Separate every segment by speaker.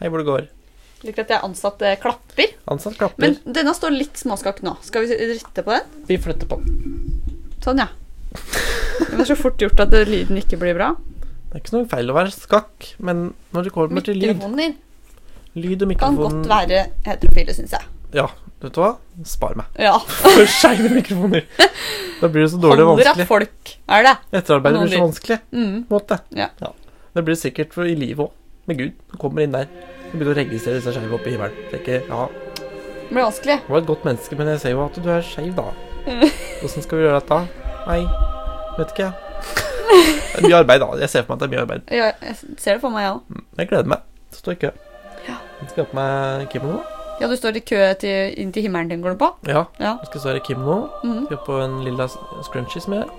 Speaker 1: Hei, hvor det går.
Speaker 2: Liker at jeg er ansatt eh, klapper.
Speaker 1: Ansatt klapper.
Speaker 2: Men denne står litt småskakk nå. Skal vi rette på den?
Speaker 1: Vi flytter på den.
Speaker 2: Sånn, ja. Det er så fort gjort at eh, lyden ikke blir bra.
Speaker 1: Det er ikke noe feil å være skakk, men når det kommer til lyd
Speaker 2: Mikrofonen din
Speaker 1: Lyd og
Speaker 2: kan
Speaker 1: mikrofon
Speaker 2: godt være heterofile, syns jeg.
Speaker 1: Ja, vet du hva? Spar meg.
Speaker 2: Ja.
Speaker 1: For skeive mikrofoner. Da blir det så dårlig og
Speaker 2: Holder at
Speaker 1: vanskelig.
Speaker 2: folk er det.
Speaker 1: Etterarbeidet blir så
Speaker 2: Handler.
Speaker 1: vanskelig.
Speaker 2: Mm.
Speaker 1: på en måte.
Speaker 2: Ja.
Speaker 1: Det blir sikkert for i livet òg. Med Gud. Du kommer inn der. Du begynner å registrere disse skeive oppi himmelen. Tenker ja,
Speaker 2: Det blir vanskelig.
Speaker 1: du var et godt menneske, men jeg ser jo at du er skeiv, da. Åssen skal vi gjøre dette? Nei, vet ikke jeg. Det er mye arbeid, da. Jeg ser for meg at det er mye arbeid.
Speaker 2: Ja, jeg ser det for meg, jeg òg.
Speaker 1: Jeg gleder meg. Står i kø.
Speaker 2: Ja.
Speaker 1: Jeg skal ha på meg kimono.
Speaker 2: Ja, du står i kø til, inn til himmelen din, går du på?
Speaker 1: Ja.
Speaker 2: Ja.
Speaker 1: Jeg skal stå her i kimono.
Speaker 2: Mm.
Speaker 1: Skal ha på en lilla s- scrunchie som jeg har.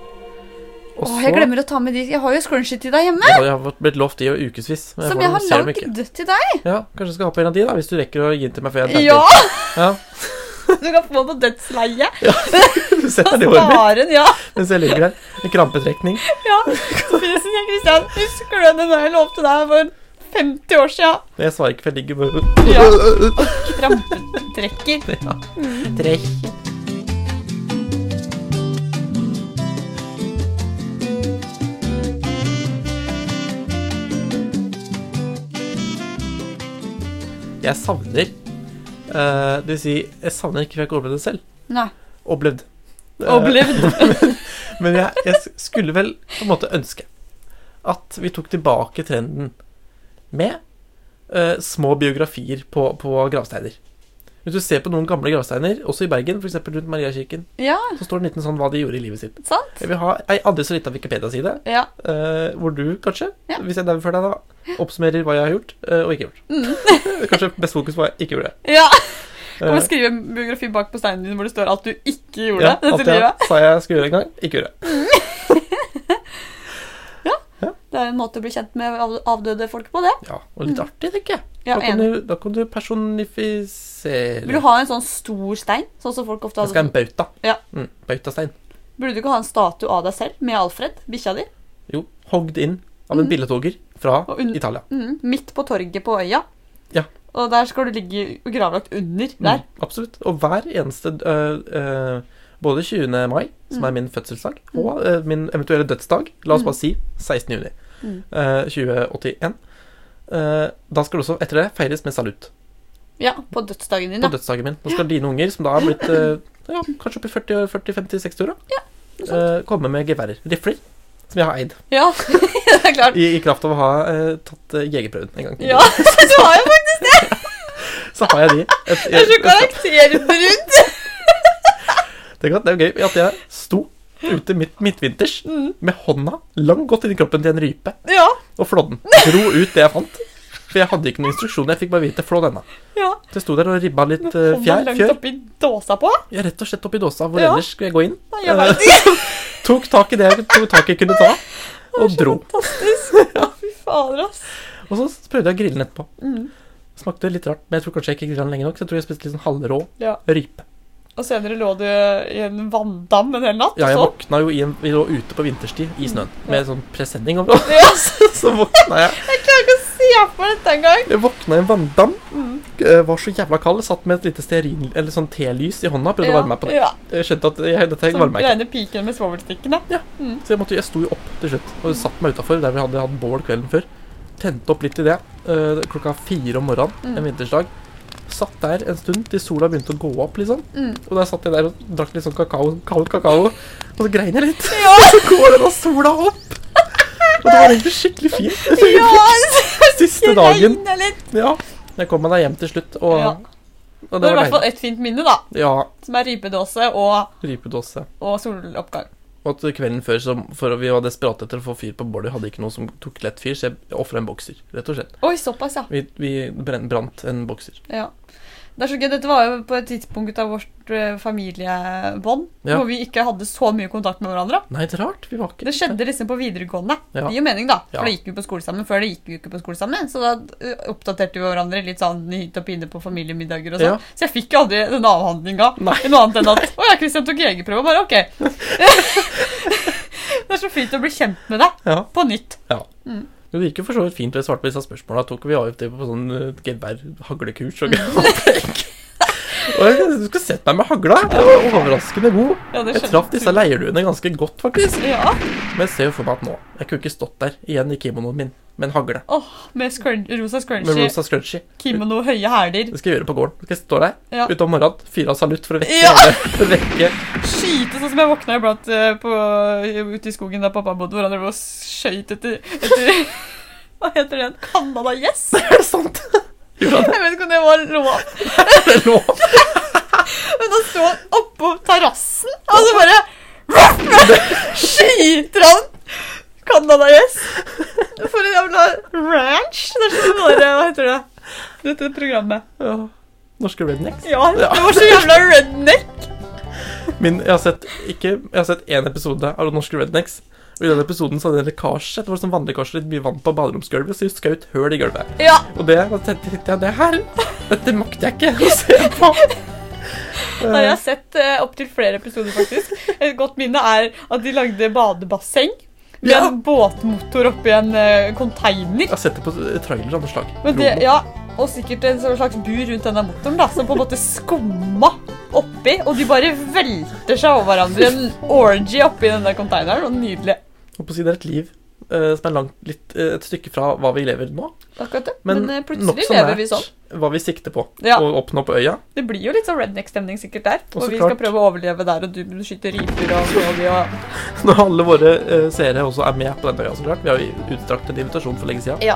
Speaker 1: Og
Speaker 2: Åh,
Speaker 1: så
Speaker 2: jeg glemmer å ta med de Jeg har jo scrunchie til deg hjemme!
Speaker 1: jeg har jeg blitt lovt de i ukevis. men
Speaker 2: Som
Speaker 1: får
Speaker 2: jeg
Speaker 1: dem-
Speaker 2: har
Speaker 1: ser dem ikke.
Speaker 2: lagd til deg!
Speaker 1: Ja, Kanskje jeg skal ha på en av de, da, hvis du rekker å gi den til meg før jeg
Speaker 2: Ja!
Speaker 1: Ja.
Speaker 2: Du kan få den på dødsleie.
Speaker 1: Du setter den i håret mitt
Speaker 2: Spare den, ja.
Speaker 1: mens jeg ligger der. En krampetrekning.
Speaker 2: ja. Sofie sier, Kristian, husker du den jeg lovte deg for 50 år siden?
Speaker 1: Men jeg svarer ikke, for jeg ligger bare
Speaker 2: Ja. Krampetrekker.
Speaker 1: ja. Trekk. Jeg savner eh, Det vil si, jeg savner ikke for jeg har ikke opplevd det selv.
Speaker 2: Nei.
Speaker 1: Opplevd. Eh,
Speaker 2: Opplevd.
Speaker 1: Men jeg, jeg skulle vel på en måte ønske at vi tok tilbake trenden med eh, små biografier på, på gravsteiner. Hvis du ser på noen gamle gravsteiner, også i Bergen, f.eks. rundt Mariakirken,
Speaker 2: Ja,
Speaker 1: så står det en liten sånn hva de gjorde i livet sitt.
Speaker 2: sant?
Speaker 1: Jeg vil ha ei aldri så lita Wikipedia-side,
Speaker 2: Ja.
Speaker 1: eh, hvor du kanskje,
Speaker 2: Ja.
Speaker 1: hvis jeg dauer før deg, da, oppsummerer hva jeg har gjort eh, og ikke gjort.
Speaker 2: Mm.
Speaker 1: Eh, kanskje best fokus på hva jeg ikke gjorde.
Speaker 2: ja. Kan
Speaker 1: Eh,
Speaker 2: man skrive en biografi bak på steinen din hvor det står alt du ikke gjorde
Speaker 1: ja,
Speaker 2: dette
Speaker 1: alt jeg
Speaker 2: livet?
Speaker 1: sa jeg skulle gjøre en gang, ikke gjorde.
Speaker 2: Det er en måte å bli kjent med av- avdøde folk på, det.
Speaker 1: Ja, Og litt artig, tenker jeg.
Speaker 2: Ja,
Speaker 1: da, kan
Speaker 2: enig.
Speaker 1: du, da kan du personifisere
Speaker 2: Vil du ha en sånn stor stein? Sånn som folk ofte
Speaker 1: Jeg skal ha
Speaker 2: har
Speaker 1: en bauta.
Speaker 2: Ja.
Speaker 1: Mm, bautastein.
Speaker 2: Burde du ikke ha en statue av deg selv med Alfred, bikkja di?
Speaker 1: Jo, hogd inn av en billedhogger fra
Speaker 2: Mm. Og un-
Speaker 1: Italia.
Speaker 2: Mm, midt på torget på øya.
Speaker 1: Ja.
Speaker 2: Og der skal du ligge gravlagt under der.
Speaker 1: Mm, absolutt. Og hver eneste øh, øh, Både 20. mai, som
Speaker 2: Mm.
Speaker 1: er min fødselsdag, og øh, min eventuelle dødsdag, la oss bare si 16. juni
Speaker 2: Mm.
Speaker 1: øh, 2081, øh, da skal det også etter det feires med salutt
Speaker 2: Ja, på dødsdagen din,
Speaker 1: på
Speaker 2: ja.
Speaker 1: dødsdagen min. Nå skal dine unger, som da er blitt øh, ja, kanskje oppi 40-50-60 år, da, øh, komme med geværer. Rifler. Som jeg har eid,
Speaker 2: Ja, det er klart.
Speaker 1: i, i kraft av å ha øh, tatt øh, jegerprøven en gang.
Speaker 2: Ja, du har jo faktisk
Speaker 1: Så har jeg de. Et,
Speaker 2: Det er så karakterbrudd!
Speaker 1: Tenk at det er gøy at jeg sto ute midt, midtvinters med hånda langt godt inni kroppen til en rype
Speaker 2: Mm, Ja,
Speaker 1: og flådde den. Dro ut det jeg fant. For jeg hadde ikke noen instruksjoner. Jeg fikk bare vite 'flå denne'.
Speaker 2: ja.
Speaker 1: Så jeg sto der og ribba litt eh,
Speaker 2: Hånda
Speaker 1: fjær.
Speaker 2: langt
Speaker 1: Fjør.
Speaker 2: oppi dåsa på.
Speaker 1: Ja, rett og slett oppi dåsa. Hvor
Speaker 2: Ja.
Speaker 1: ellers skulle jeg gå inn?
Speaker 2: Nei, jeg
Speaker 1: Eh,
Speaker 2: vet ikke.
Speaker 1: tok tak i det jeg tok tak i kunne ta, og dro.
Speaker 2: Fantastisk. Ja, fy fader, ass.
Speaker 1: Og så prøvde jeg å grille den etterpå.
Speaker 2: Mm.
Speaker 1: Smakte litt rart, men jeg tror kanskje jeg ikke grilla den lenge nok. Så jeg tror jeg spiste litt sånn halvrå
Speaker 2: Ja.
Speaker 1: rype.
Speaker 2: Og senere lå du i en vanndam en hel natt.
Speaker 1: Ja, jeg
Speaker 2: og
Speaker 1: våkna jo i en, vi lå ute på vinterstid i snøen
Speaker 2: Mm,
Speaker 1: med sånn presenning over oss. Så
Speaker 2: sov. Ja,
Speaker 1: våkna jeg
Speaker 2: jeg klarer ikke å se for dette engang.
Speaker 1: Jeg våkna i en vanndam.
Speaker 2: Mm.
Speaker 1: eh, Var så jævla kald. Satt med et lite stearin, eller sånn telys i hånda. Prøvde å varme meg på det.
Speaker 2: Ja, Sånn,
Speaker 1: Jeg skjønte at jeg, dette
Speaker 2: Som
Speaker 1: varmer meg ikke.
Speaker 2: rene piken med svovelstikkene.
Speaker 1: Så jeg, måtte, jeg sto jo opp til slutt. Og satt meg utafor der vi hadde hatt bål kvelden før. Tente opp litt i det. eh, Klokka fire om morgenen
Speaker 2: Mm.
Speaker 1: en vintersdag. Satt der en stund til sola begynte å gå opp, liksom.
Speaker 2: Mm.
Speaker 1: Og der satt jeg der og drakk litt sånn kakao, kald kakao. Og så grein jeg litt.
Speaker 2: Ja.
Speaker 1: Og så går den av sola opp! Og det var egentlig skikkelig fint.
Speaker 2: Ja,
Speaker 1: Siste
Speaker 2: det
Speaker 1: dagen.
Speaker 2: regner litt.
Speaker 1: Ja. Jeg kom meg da hjem til slutt, og,
Speaker 2: Ja.
Speaker 1: og det
Speaker 2: Det er i
Speaker 1: var
Speaker 2: hvert fall
Speaker 1: deilig.
Speaker 2: ett fint minne, da.
Speaker 1: Ja,
Speaker 2: Som er rypedåse og,
Speaker 1: rypedåse.
Speaker 2: og soloppgang.
Speaker 1: Og at kvelden før, så, for vi var desperate etter å få fyr på bålet, hadde ikke noe som tok lett fyr, så jeg ofra en bokser, rett og slett.
Speaker 2: Oi, såpass, ja.
Speaker 1: Vi, vi brenn, brant en bokser.
Speaker 2: ja. Det er så gøy. Dette var jo på et tidspunkt av vårt eh, familiebånd
Speaker 1: Ja.
Speaker 2: hvor vi ikke hadde så mye kontakt med hverandre.
Speaker 1: Nei, det er rart. Vi var ikke
Speaker 2: Det skjedde liksom på videregående.
Speaker 1: Ja.
Speaker 2: Det gir jo mening, da. For
Speaker 1: Ja.
Speaker 2: da gikk vi på skole sammen. Før det gikk vi jo ikke på skole sammen. Så da ø, oppdaterte vi hverandre litt sånn i hytt og pine på familiemiddager og
Speaker 1: Ja.
Speaker 2: sånn. Så jeg fikk jo aldri den avhandlinga.
Speaker 1: Nei.
Speaker 2: Noe annet enn at Å ja, Christian tok jegerprøve. Bare ok. det er så fint å bli kjent med deg
Speaker 1: Ja.
Speaker 2: på nytt.
Speaker 1: ja. Jo, det gikk jo for så vidt fint, og jeg svarte på disse spørsmåla. Tok vi AFD på sånn eh, gevær-haglekurs og greier. Og jeg du skulle sett meg med hagla! Jeg var overraskende god.
Speaker 2: Ja, det
Speaker 1: Jeg
Speaker 2: skjønner
Speaker 1: traff disse leirduene ganske godt, faktisk.
Speaker 2: Ja.
Speaker 1: Men jeg ser jo for meg at nå Jeg kunne ikke stått der igjen i kimonoen min med en hagle.
Speaker 2: Åh, med scrunch, rosa scrunchy,
Speaker 1: Med rosa scrunchie.
Speaker 2: kimono, høye hæler.
Speaker 1: Det skal jeg gjøre på gården. Skal jeg stå der
Speaker 2: Ja.
Speaker 1: ute om morgenen, fyre av salutt for å vekke
Speaker 2: Ja.
Speaker 1: alle. For å vekke
Speaker 2: Skyte sånn som jeg våkna iblant eh, på, ute i skogen der pappa bodde, hvor han drev og skøyt etter, etter Hva heter den? Canada-gjess?
Speaker 1: Er det sant? Gjorde han
Speaker 2: Jeg vet ikke om det var lov.
Speaker 1: det nå?
Speaker 2: Men da sto han oppå terrassen, og så bare Skyter han Canada-gjess for en jævla ranch? Det er sånn bare Hva heter det? Dette programmet.
Speaker 1: Ja. Norske rednecks.
Speaker 2: Ja,
Speaker 1: Ja.
Speaker 2: det var så jævla redneck.
Speaker 1: Min, jeg har sett ikke Jeg har sett én episode av Norske rednecks. Og I den episoden så hadde jeg en lekkasje. Det var sånn vannlekkasje, litt mye vann på baderomsgulvet, så jeg skjøt høl i gulvet.
Speaker 2: Ja,
Speaker 1: Og det da tenkte jeg det her Dette makter jeg ikke å se på.
Speaker 2: Da har jeg sett uh, opptil flere episoder, faktisk. Et godt minne er at de lagde badebasseng med
Speaker 1: Ja.
Speaker 2: en båtmotor oppi en eh,
Speaker 1: Jeg
Speaker 2: container.
Speaker 1: har sett det på trailer av noe slag.
Speaker 2: Men det,
Speaker 1: Promo.
Speaker 2: ja, og sikkert en sånn slags bur rundt denne motoren da, som på en måte skumma oppi. Og de bare velter seg over hverandre i en orgy oppi den der containeren. Og nydelig.
Speaker 1: Holdt på å si det er et liv eh, som er langt, litt, eh, et stykke fra hva vi lever nå.
Speaker 2: Akkurat det. Men,
Speaker 1: Men,
Speaker 2: eh, plutselig
Speaker 1: nokså
Speaker 2: lever
Speaker 1: nært
Speaker 2: vi sånn.
Speaker 1: hva vi sikter på
Speaker 2: Ja.
Speaker 1: å oppnå på øya.
Speaker 2: Det blir jo litt sånn redneck-stemning sikkert der.
Speaker 1: Og
Speaker 2: Og
Speaker 1: så
Speaker 2: vi skal
Speaker 1: klart.
Speaker 2: prøve å overleve der, og du skyter riper og smådyr og
Speaker 1: Når alle våre eh, seere også er med på den øya, så klart. Vi har jo utstrakt en invitasjon for lenge siden.
Speaker 2: Ja,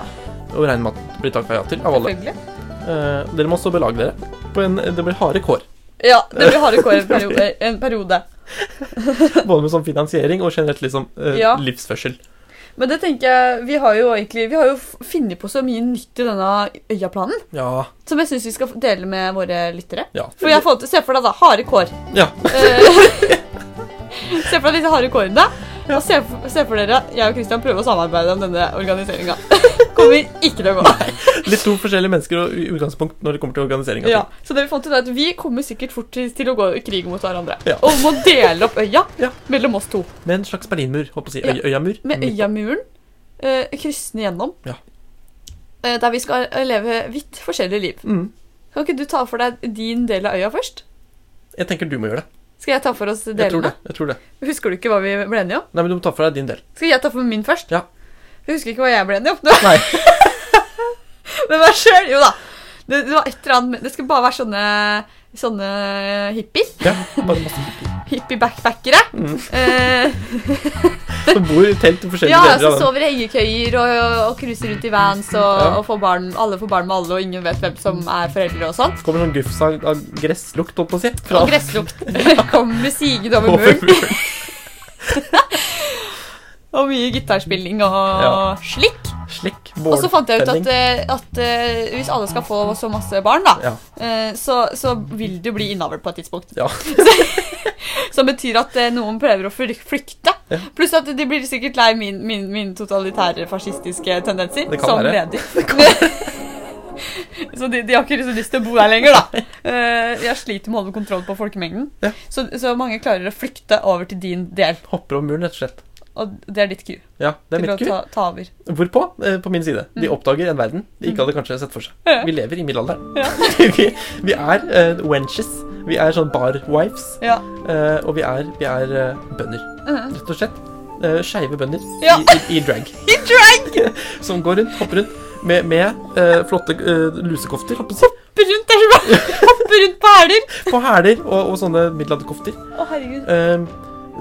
Speaker 1: Og regner med at det blir takka ja til av alle.
Speaker 2: selvfølgelig.
Speaker 1: Eh, dere må også belage dere. På en, det blir harde kår.
Speaker 2: Ja, det blir harde kår en periode. En periode.
Speaker 1: Både med sånn finansiering og generelt liksom eh,
Speaker 2: Ja.
Speaker 1: livsførsel.
Speaker 2: Men det tenker jeg, vi har jo egentlig Vi har jo f- funnet på så mye nytt i denne Øyaplanen,
Speaker 1: Ja.
Speaker 2: som jeg syns vi skal f- dele med våre lyttere.
Speaker 1: ja.
Speaker 2: For jeg fant, Se for deg da, harde kår.
Speaker 1: Ja.
Speaker 2: Eh, se for deg disse harde kårene. Og se for, se for dere jeg og Christian prøver å samarbeide om denne organiseringa. Kommer ikke til å gå.
Speaker 1: Litt to forskjellige mennesker og i utgangspunkt når det kommer til organisering. av
Speaker 2: Ja,
Speaker 1: ting.
Speaker 2: så det vi fant ut er at vi kommer sikkert fort til, til å gå i krig mot hverandre.
Speaker 1: Ja.
Speaker 2: Og må dele opp øya
Speaker 1: Ja.
Speaker 2: mellom oss to.
Speaker 1: Med en slags berlinmur. Holdt på å si.
Speaker 2: Ja.
Speaker 1: Øy, øyamur. Mm.
Speaker 2: Med øyamuren eh, kryssende gjennom.
Speaker 1: Ja.
Speaker 2: Eh, der vi skal eh, leve vidt forskjellige liv.
Speaker 1: Mm.
Speaker 2: Kan ikke du ta for deg din del av øya først?
Speaker 1: Jeg tenker du må gjøre det.
Speaker 2: Skal jeg ta for oss
Speaker 1: Jeg tror det.
Speaker 2: delene?
Speaker 1: Jeg tror det.
Speaker 2: Husker du ikke hva vi ble enige om?
Speaker 1: Nei, men du må ta for deg din del.
Speaker 2: Skal jeg ta for min først?
Speaker 1: Ja.
Speaker 2: Jeg husker ikke hva jeg ble enig om. nå.
Speaker 1: Nei.
Speaker 2: Men hva skjer? Jo da. Det, det var et eller annet med- Det skulle bare være sånne, sånne hippier.
Speaker 1: Ja, bare masse hippier.
Speaker 2: Hippie-backpackere.
Speaker 1: Mm.
Speaker 2: Eh,
Speaker 1: Som bor i telt i forskjellige
Speaker 2: ja, altså,
Speaker 1: deler
Speaker 2: som
Speaker 1: av den.
Speaker 2: sover i hengekøyer og, og cruiser rundt i vans, og,
Speaker 1: Ja.
Speaker 2: og får barn, alle får barn med alle, og ingen vet hvem som er foreldre og sånn.
Speaker 1: Kommer sånn gufs av av gresslukt, holdt på å si.
Speaker 2: Og gresslukt kommer sigende over
Speaker 1: over
Speaker 2: muren.
Speaker 1: muren.
Speaker 2: Og mye gitarspilling og
Speaker 1: Ja.
Speaker 2: slik.
Speaker 1: Slik.
Speaker 2: Og så fant jeg ut at,
Speaker 1: båltelling.
Speaker 2: eh, at eh, hvis alle skal få så masse barn, da,
Speaker 1: Ja.
Speaker 2: eh, så, så vil du bli innavl på et tidspunkt.
Speaker 1: Ja.
Speaker 2: Som betyr at eh, noen prøver å flyk- flykte.
Speaker 1: Ja.
Speaker 2: Pluss at de blir sikkert lei min, min, min totalitære fascistiske tendenser
Speaker 1: Det kan
Speaker 2: som
Speaker 1: være.
Speaker 2: leder. så de, de har ikke liksom lyst til å bo der lenger, da. Eh, jeg sliter med å holde kontroll på folkemengden.
Speaker 1: Ja.
Speaker 2: Så, så mange klarer å flykte over til din del,
Speaker 1: Hopper over muren, rett og slett.
Speaker 2: og det er ditt ku.
Speaker 1: Ja, det er
Speaker 2: eh, Til å
Speaker 1: mitt ku.
Speaker 2: ta, ta over.
Speaker 1: Hvorpå, eh, på min side, de
Speaker 2: Mm.
Speaker 1: oppdager en verden de ikke hadde kanskje sett for seg.
Speaker 2: Ja.
Speaker 1: Vi lever i middelalderen.
Speaker 2: Ja.
Speaker 1: vi, vi er eh, wenches. Vi er sånn barwives.
Speaker 2: Ja.
Speaker 1: eh, og vi er, vi er eh, bønder,
Speaker 2: Mhm.
Speaker 1: rett og slett. Uh, Skeive bønder
Speaker 2: Ja.
Speaker 1: i, i, i drag. I drag! Som går rundt, hopper rundt med, med eh, flotte eh, lusekofter, holdt på å si.
Speaker 2: Hoppe rundt der som bare Hoppe rundt på hæler!
Speaker 1: På hæler og, og sånne middelalderkofter.
Speaker 2: Å, herregud.
Speaker 1: Eh,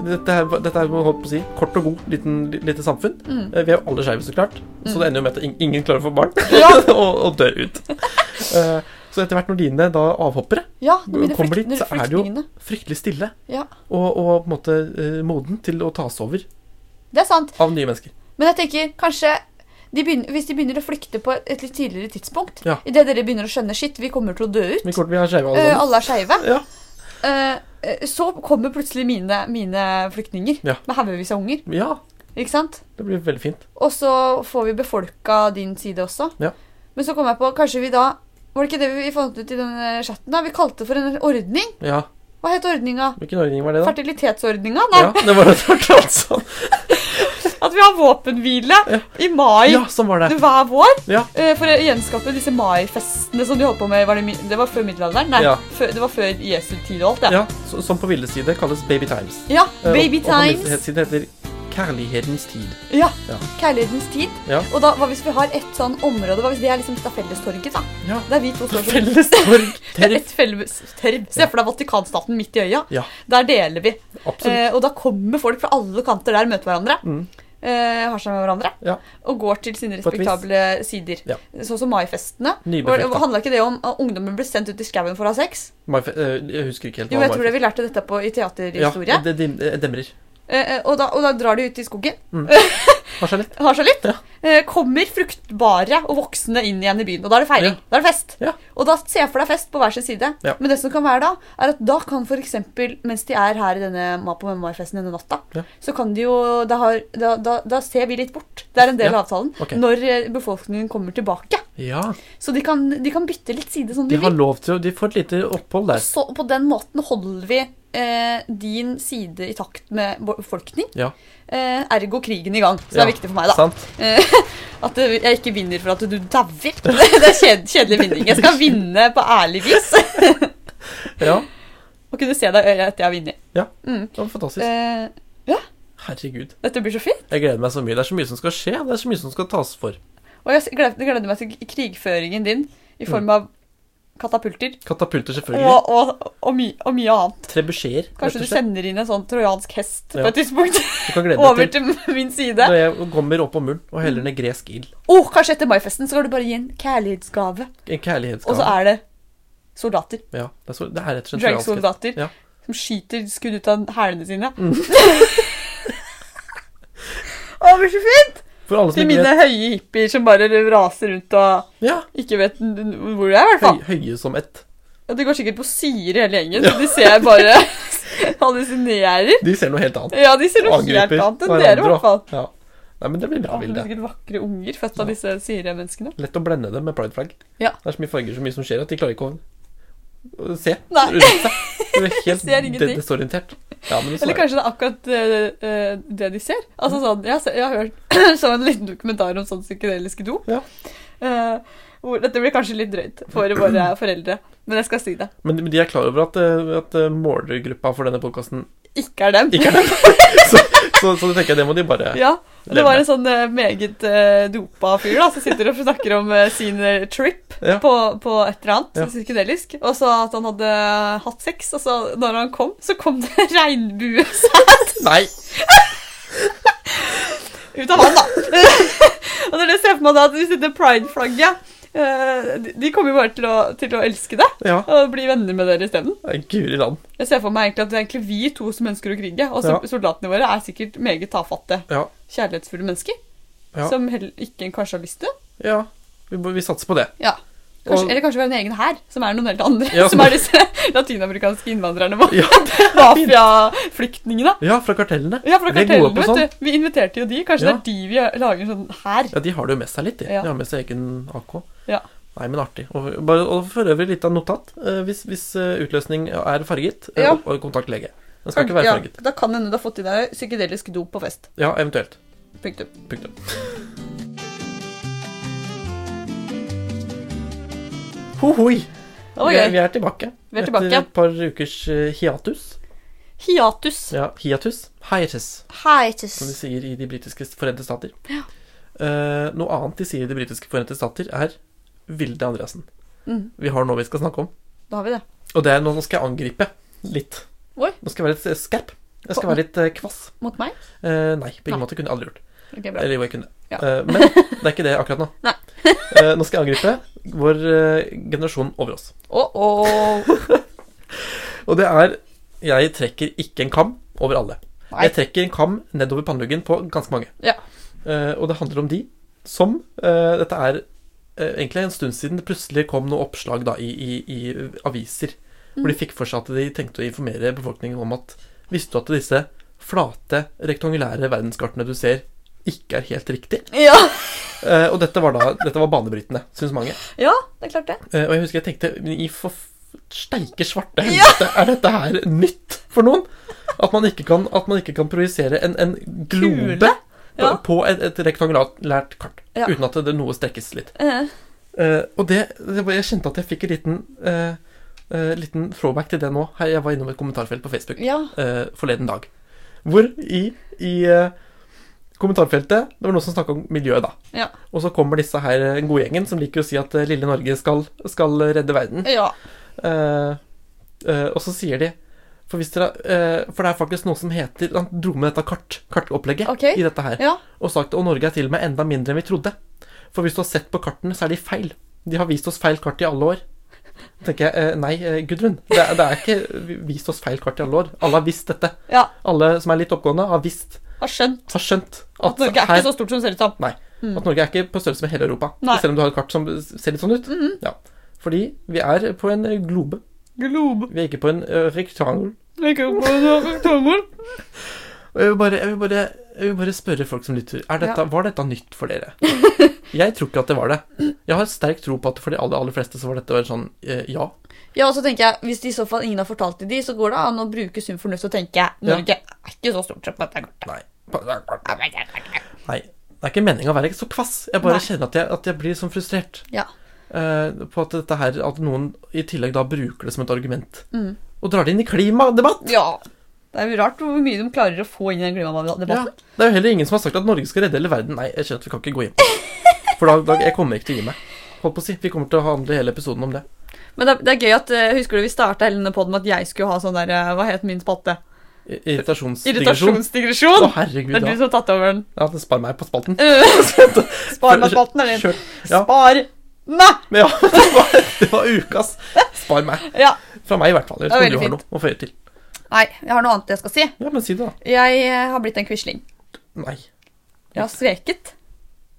Speaker 1: dette, her, dette er holdt på å si, kort og god liten, lite samfunn.
Speaker 2: Mm.
Speaker 1: Eh, Vi er jo alle skeive, så klart. Så det ender jo med at ing- ingen klarer å få barn,
Speaker 2: Ja.
Speaker 1: og, og dør ut. Eh, så etter hvert når dine da avhoppere,
Speaker 2: Ja, det blir det
Speaker 1: Kommer dit,
Speaker 2: flyktende-
Speaker 1: så er det jo-
Speaker 2: flyktningene.
Speaker 1: fryktelig stille
Speaker 2: Ja,
Speaker 1: og, og på en måte eh, moden til å tas over
Speaker 2: det er sant.
Speaker 1: av nye mennesker.
Speaker 2: Men jeg tenker kanskje de begynner, Hvis de begynner å flykte på et litt tidligere tidspunkt
Speaker 1: Ja.
Speaker 2: i Idet dere begynner å skjønne shit, vi kommer til å dø ut,
Speaker 1: Vi kommer til å være skeive alle
Speaker 2: eh,
Speaker 1: sammen.
Speaker 2: alle er skeive,
Speaker 1: Ja.
Speaker 2: eh, eh, så kommer plutselig mine, mine flyktninger
Speaker 1: Ja.
Speaker 2: med haugevis av unger.
Speaker 1: ja,
Speaker 2: Ikke sant?
Speaker 1: det blir veldig fint.
Speaker 2: Og så får vi befolka din side også.
Speaker 1: Ja.
Speaker 2: Men så kom jeg på Kanskje vi da Var det ikke det vi fant ut i den eh, chatten? da? Vi kalte det for en ordning.
Speaker 1: Ja,
Speaker 2: Hva het ordninga?
Speaker 1: Hvilken ordning var det, da?
Speaker 2: Fertilitetsordninga? Nei.
Speaker 1: altså. Ja, det var det som var talt sånn.
Speaker 2: At vi har våpenhvile i mai
Speaker 1: Ja, sånn var det.
Speaker 2: hver vår.
Speaker 1: Ja.
Speaker 2: eh, For å gjenskape disse maifestene som de holdt på med var det, mi- det var før middelalderen? Nei,
Speaker 1: Ja.
Speaker 2: før, det var før Jesu tid og alt, det.
Speaker 1: Ja, så, Som på Villes side kalles Baby Times.
Speaker 2: Ja.
Speaker 1: Eh, og-
Speaker 2: Baby
Speaker 1: og på Milles
Speaker 2: times.
Speaker 1: side heter Kærlighetens tid.
Speaker 2: Ja.
Speaker 1: Ja.
Speaker 2: Kjærlighetens tid.
Speaker 1: Ja.
Speaker 2: Og da, hva hvis vi har et sånn område? Hva hvis det er liksom dette fellestorget, da?
Speaker 1: Ja.
Speaker 2: Der vi to står på
Speaker 1: Fellestorg.
Speaker 2: Det er
Speaker 1: Terp.
Speaker 2: et felles terv. Se for deg Vatikanstaten midt i øya.
Speaker 1: Ja.
Speaker 2: Der deler vi.
Speaker 1: Absolutt.
Speaker 2: Eh, og da kommer folk fra alle kanter der, møter hverandre.
Speaker 1: Mm.
Speaker 2: Eh, har seg med hverandre.
Speaker 1: Ja.
Speaker 2: Og går til sine
Speaker 1: På et vis.
Speaker 2: respektable sider.
Speaker 1: Ja.
Speaker 2: Sånn som maifestene.
Speaker 1: Nybefekta.
Speaker 2: Handla ikke det om at ungdommen ble sendt ut i skauen for å ha sex?
Speaker 1: Marfe- eh, Jeg husker ikke helt
Speaker 2: Jo, jeg tror det
Speaker 1: Marfe-
Speaker 2: vi lærte dette på i teaterhistorie.
Speaker 1: Ja, det dim- eh, demrer.
Speaker 2: Eh, eh, og, da, og da drar de ut i skogen,
Speaker 1: Har seg litt.
Speaker 2: har seg litt.
Speaker 1: Ja.
Speaker 2: Eh, kommer fruktbare og voksne inn igjen i byen. Og da er det feiring.
Speaker 1: Ja.
Speaker 2: Da er det fest.
Speaker 1: Ja.
Speaker 2: Og da ser jeg for deg fest på hver sin side.
Speaker 1: Ja.
Speaker 2: Men det som kan være da, er at da kan for eksempel, mens de er her i denne Ma- på Mai-festen denne natta,
Speaker 1: Ja.
Speaker 2: så kan de jo da, har, da, da, da ser vi litt bort. Det er en del
Speaker 1: Ja.
Speaker 2: av avtalen.
Speaker 1: Ok.
Speaker 2: Når eh, befolkningen kommer tilbake.
Speaker 1: Ja,
Speaker 2: Så de kan, de kan bytte litt side som
Speaker 1: de
Speaker 2: de,
Speaker 1: har
Speaker 2: vil.
Speaker 1: lov til å De får et lite opphold der.
Speaker 2: Så på den måten holder vi eh, din side i takt med vår befolkning.
Speaker 1: Ja.
Speaker 2: Eh, ergo krigen i gang. Så det
Speaker 1: Ja,
Speaker 2: er viktig for meg, da.
Speaker 1: Sant?
Speaker 2: Eh, At det- jeg ikke vinner for at du dauer. Det er kjed kjedelig vinning. Jeg skal vinne på ærlig vis.
Speaker 1: Ja,
Speaker 2: Og kunne se deg i øyet etter jeg har vunnet.
Speaker 1: det var fantastisk.
Speaker 2: Eh,
Speaker 1: Herregud.
Speaker 2: dette blir så fint.
Speaker 1: Jeg gleder meg så mye. Det er så mye som skal skje. Det er så mye som skal tas for.
Speaker 2: Og jeg s- gled- gleder meg til krigføringen din i form
Speaker 1: Mm.
Speaker 2: av katapulter
Speaker 1: Katapulter, selvfølgelig.
Speaker 2: og, og, og, my og mye annet.
Speaker 1: Trebucheter. rett
Speaker 2: Kanskje
Speaker 1: og
Speaker 2: du
Speaker 1: slett.
Speaker 2: sender inn en sånn trojansk hest på
Speaker 1: Ja.
Speaker 2: et tidspunkt
Speaker 1: Du kan glede
Speaker 2: over
Speaker 1: deg til
Speaker 2: til Mm. min side.
Speaker 1: når jeg kommer opp om muren og heller ned gresk ild.
Speaker 2: Oh, kanskje etter maifesten så kan du bare gi en kjærlighetsgave,
Speaker 1: En
Speaker 2: og så
Speaker 1: kjærlighetsgave.
Speaker 2: er det soldater.
Speaker 1: Ja, det er, så, det er rett og slett trojansk.
Speaker 2: Dragsoldater
Speaker 1: Ja.
Speaker 2: som skyter skudd ut av hælene sine.
Speaker 1: Mm.
Speaker 2: Å, det blir så fint!
Speaker 1: For alle som
Speaker 2: Til
Speaker 1: ikke
Speaker 2: mine
Speaker 1: vet
Speaker 2: høye hippier som bare raser rundt og
Speaker 1: Ja,
Speaker 2: ikke vet n- n- hvor de er, i hvert
Speaker 1: høy,
Speaker 2: fall.
Speaker 1: høye som ett.
Speaker 2: Og De går sikkert på syre hele gjengen, så de ser bare hallusinerer.
Speaker 1: De ser noe helt annet.
Speaker 2: Ja, de ser noe
Speaker 1: Og
Speaker 2: helt annet enn
Speaker 1: hverandre
Speaker 2: dere, i hvert fall.
Speaker 1: og- Ja. Nei, men det blir bra
Speaker 2: Å, det
Speaker 1: bilde.
Speaker 2: er sikkert vakre unger født av disse syremenneskene.
Speaker 1: Lett å blende dem med prideflagg.
Speaker 2: Ja.
Speaker 1: Det er så mye farger så mye som skjer at de klarer ikke å å se
Speaker 2: Nei.
Speaker 1: rundt seg. Du er helt
Speaker 2: Ser ingenting.
Speaker 1: de- desorientert. Ja, men sånn
Speaker 2: Eller
Speaker 1: er det.
Speaker 2: kanskje det er akkurat eh, eh, det de ser. Altså
Speaker 1: Mm.
Speaker 2: sånn, Jeg, har se- jeg har hørt så en liten dokumentar om sånn psykedeliske dop.
Speaker 1: Ja.
Speaker 2: Eh, hvor, dette blir kanskje litt drøyt for våre foreldre, men jeg skal si det.
Speaker 1: Men men de er klar over at, eh, at eh, målergruppa for denne podkasten
Speaker 2: Ikke er dem.
Speaker 1: ikke er der. Så, så, så tenker jeg det må de bare
Speaker 2: Ja, og Det
Speaker 1: Levende.
Speaker 2: var en sånn eh, meget eh, dopa fyr da, som sitter og snakker om eh, sin eh, trip
Speaker 1: Ja.
Speaker 2: på, på et eller annet
Speaker 1: Ja.
Speaker 2: psykedelisk. Og så at han hadde hatt sex, og så når han kom, så kom det regnbue
Speaker 1: Nei!
Speaker 2: ut av han, da. og når jeg ser for meg da at hvis dette pride-flagget eh, de- De kommer jo bare til å, til å elske det
Speaker 1: Ja.
Speaker 2: og bli venner med dere isteden.
Speaker 1: det er Guri land.
Speaker 2: Jeg ser for meg egentlig at det er egentlig vi to som ønsker å krige, og så
Speaker 1: Ja.
Speaker 2: soldatene våre er sikkert meget tafatte,
Speaker 1: Ja.
Speaker 2: kjærlighetsfulle mennesker.
Speaker 1: Ja.
Speaker 2: Som heller ikke kanskje har lyst til det.
Speaker 1: ja. Vi, må- vi satser på det.
Speaker 2: Ja. Kanskje,
Speaker 1: Og-
Speaker 2: eller kanskje vi har en egen hær, som er noen helt andre.
Speaker 1: Ja,
Speaker 2: som
Speaker 1: som-
Speaker 2: er disse latinamerikanske innvandrerne våre.
Speaker 1: Ja,
Speaker 2: Mafiaflyktningene.
Speaker 1: ja fra kartellene.
Speaker 2: Ja, for
Speaker 1: Vi er
Speaker 2: det
Speaker 1: gode på
Speaker 2: kartellene,
Speaker 1: sånn.
Speaker 2: vet du. Vi inviterte jo de. Kanskje
Speaker 1: Ja.
Speaker 2: det er de vi lager en sånn hær.
Speaker 1: Ja, de har det jo med seg litt, de.
Speaker 2: Ja.
Speaker 1: De har med seg egen AK.
Speaker 2: Ja.
Speaker 1: Nei, men artig. Og, bare, og for øvrig litt av notat. eh, hvis hvis eh, utløsning er farget, eh,
Speaker 2: Ja.
Speaker 1: og- og kontakt lege. Den skal ikke være
Speaker 2: Ja,
Speaker 1: farget.
Speaker 2: da kan hende du har fått i deg psykedelisk dop på fest.
Speaker 1: Ja, eventuelt.
Speaker 2: Punktum.
Speaker 1: Punktum. Hohoi!
Speaker 2: Det var
Speaker 1: Vi, er-
Speaker 2: gøy.
Speaker 1: vi er tilbake.
Speaker 2: Vi er tilbake.
Speaker 1: Etter et par ukers eh, hiatus.
Speaker 2: Hiatus.
Speaker 1: Ja, hiatus. Hiatus,
Speaker 2: Hiatus.
Speaker 1: som de sier i De britiske forente stater. Eh, noe annet de sier i De britiske forente stater, er Vilde Andreassen.
Speaker 2: Mm,
Speaker 1: Vi har noe vi skal snakke om.
Speaker 2: da har vi det.
Speaker 1: Og det er nå skal jeg angripe litt.
Speaker 2: Oi.
Speaker 1: Nå skal jeg være litt eh, skarp. Jeg skal være litt eh, kvass.
Speaker 2: Mot meg?
Speaker 1: Eh, nei, på ingen
Speaker 2: Nei.
Speaker 1: måte kunne jeg aldri gjort.
Speaker 2: Ok, bra.
Speaker 1: Eller jo, jeg kunne.
Speaker 2: Ja.
Speaker 1: Eh, men det er ikke det akkurat nå.
Speaker 2: Nei.
Speaker 1: Eh, nå skal jeg angripe vår eh, generasjon over oss.
Speaker 2: Å, å.
Speaker 1: Og det er Jeg trekker ikke en kam over alle.
Speaker 2: Nei.
Speaker 1: Jeg trekker en kam nedover panneluggen på ganske mange.
Speaker 2: Ja.
Speaker 1: Eh, og det handler om de som eh, Dette er eh, egentlig en stund siden det plutselig kom noen oppslag da, i, i, i aviser hvor
Speaker 2: Mm.
Speaker 1: de fikk for seg at de tenkte å informere befolkningen om at Visste du at disse flate, rektangulære verdenskartene du ser, ikke er helt riktig?
Speaker 2: Ja.
Speaker 1: Eh, og dette var da Dette var banebrytende, syns mange.
Speaker 2: ja, det er klart det.
Speaker 1: Eh, og jeg husker jeg tenkte men I for steike svarte helvete, er dette her nytt for noen? At man ikke kan, at man ikke kan projisere en, en globe
Speaker 2: Kule?
Speaker 1: På,
Speaker 2: Ja.
Speaker 1: på et, et rektangulært kart.
Speaker 2: Ja.
Speaker 1: Uten at det noe strekkes litt.
Speaker 2: Eh,
Speaker 1: Eh, og det, det var, Jeg kjente at jeg fikk en liten, eh, eh, liten throwback til det nå. Her, jeg var innom et kommentarfelt på Facebook
Speaker 2: ja.
Speaker 1: eh, forleden dag. Hvor i, i eh, kommentarfeltet Det var noen som snakka om miljøet, da.
Speaker 2: Ja.
Speaker 1: Og så kommer disse her, eh, godgjengen, som liker å si at eh, lille Norge skal, skal redde verden.
Speaker 2: ja.
Speaker 1: Eh, eh, og så sier de for, hvis dere, eh, for det er faktisk noe som heter Han dro med dette kart, kartopplegget
Speaker 2: Ok.
Speaker 1: i dette her.
Speaker 2: Ja.
Speaker 1: Og sagt at Norge er til og med enda mindre enn vi trodde. For hvis du har sett på kartene, så er de feil. De har vist oss feil kart i alle år. Da tenker jeg, eh, Nei, eh, Gudrun. Det, er- det er ikke vist oss feil kart i alle år. Alle har visst dette.
Speaker 2: ja.
Speaker 1: Alle som er litt oppgående, har visst,
Speaker 2: Har skjønt
Speaker 1: har skjønt
Speaker 2: at Norge er ikke så stort som det ser ut som.
Speaker 1: Nei. At Norge er ikke på størrelse med hele Europa.
Speaker 2: Nei. Mhm.
Speaker 1: Selv om du har et kart som ser litt sånn ut. ja. Fordi vi er på en eh, globe.
Speaker 2: Globe.
Speaker 1: Vi er ikke på en ø, rektangel.
Speaker 2: Ikke på en rektangel.
Speaker 1: Og Jeg vil, bare, jeg, vil bare, jeg vil bare spørre folk som lytter, er dette,
Speaker 2: Ja.
Speaker 1: var dette nytt for dere? Jeg tror ikke at det var det. Jeg har sterk tro på at for de aller, aller fleste så var dette en sånn eh, ja.
Speaker 2: Ja, og så tenker jeg, Hvis det i så fall ingen har fortalt det de, så går det an å bruke sunn fornuft og tenke Norge er ikke så stort som dette kortet.
Speaker 1: Nei. Nei. Det er ikke meninga å være så kvass. Jeg bare
Speaker 2: Nei.
Speaker 1: kjenner at jeg, at jeg blir sånn frustrert
Speaker 2: Ja.
Speaker 1: eh, på at dette her At noen i tillegg da bruker det som et argument.
Speaker 2: Mm.
Speaker 1: Og drar det inn i klimadebatt!
Speaker 2: ja. Det er jo rart hvor mye de klarer å få inn i den
Speaker 1: Ja.
Speaker 2: klimadebatten.
Speaker 1: Det er jo heller ingen som har sagt at Norge skal redde hele verden. Nei, jeg skjønner at vi kan ikke gå inn på det. For da, da, jeg kommer ikke til å gi meg. Holdt på å si. Vi kommer til å handle hele episoden om det.
Speaker 2: Men det er, det er gøy at eh, Husker du vi starta hele denne podden med at jeg skulle ha sånn der eh, Hva het min spalte?
Speaker 1: I- Irritasjonsdigresjon. Å,
Speaker 2: Irritasjonsdigresjon!
Speaker 1: herregud,
Speaker 2: Det er du
Speaker 1: ja.
Speaker 2: som har tatt over den.
Speaker 1: ja. Det spar meg på spalten.
Speaker 2: Spar meg spalten, er din.
Speaker 1: Kjør. Ja,
Speaker 2: Spar meg!
Speaker 1: men ja det, var, det var ukas spar meg.
Speaker 2: Ja.
Speaker 1: Fra meg, i hvert fall. Jeg
Speaker 2: Det
Speaker 1: tror
Speaker 2: var
Speaker 1: du
Speaker 2: veldig
Speaker 1: har noe å føye til.
Speaker 2: Nei, jeg har noe annet jeg skal si.
Speaker 1: Ja, men si det, da.
Speaker 2: Jeg eh, har blitt en quisling.
Speaker 1: Nei.
Speaker 2: Jeg har sveket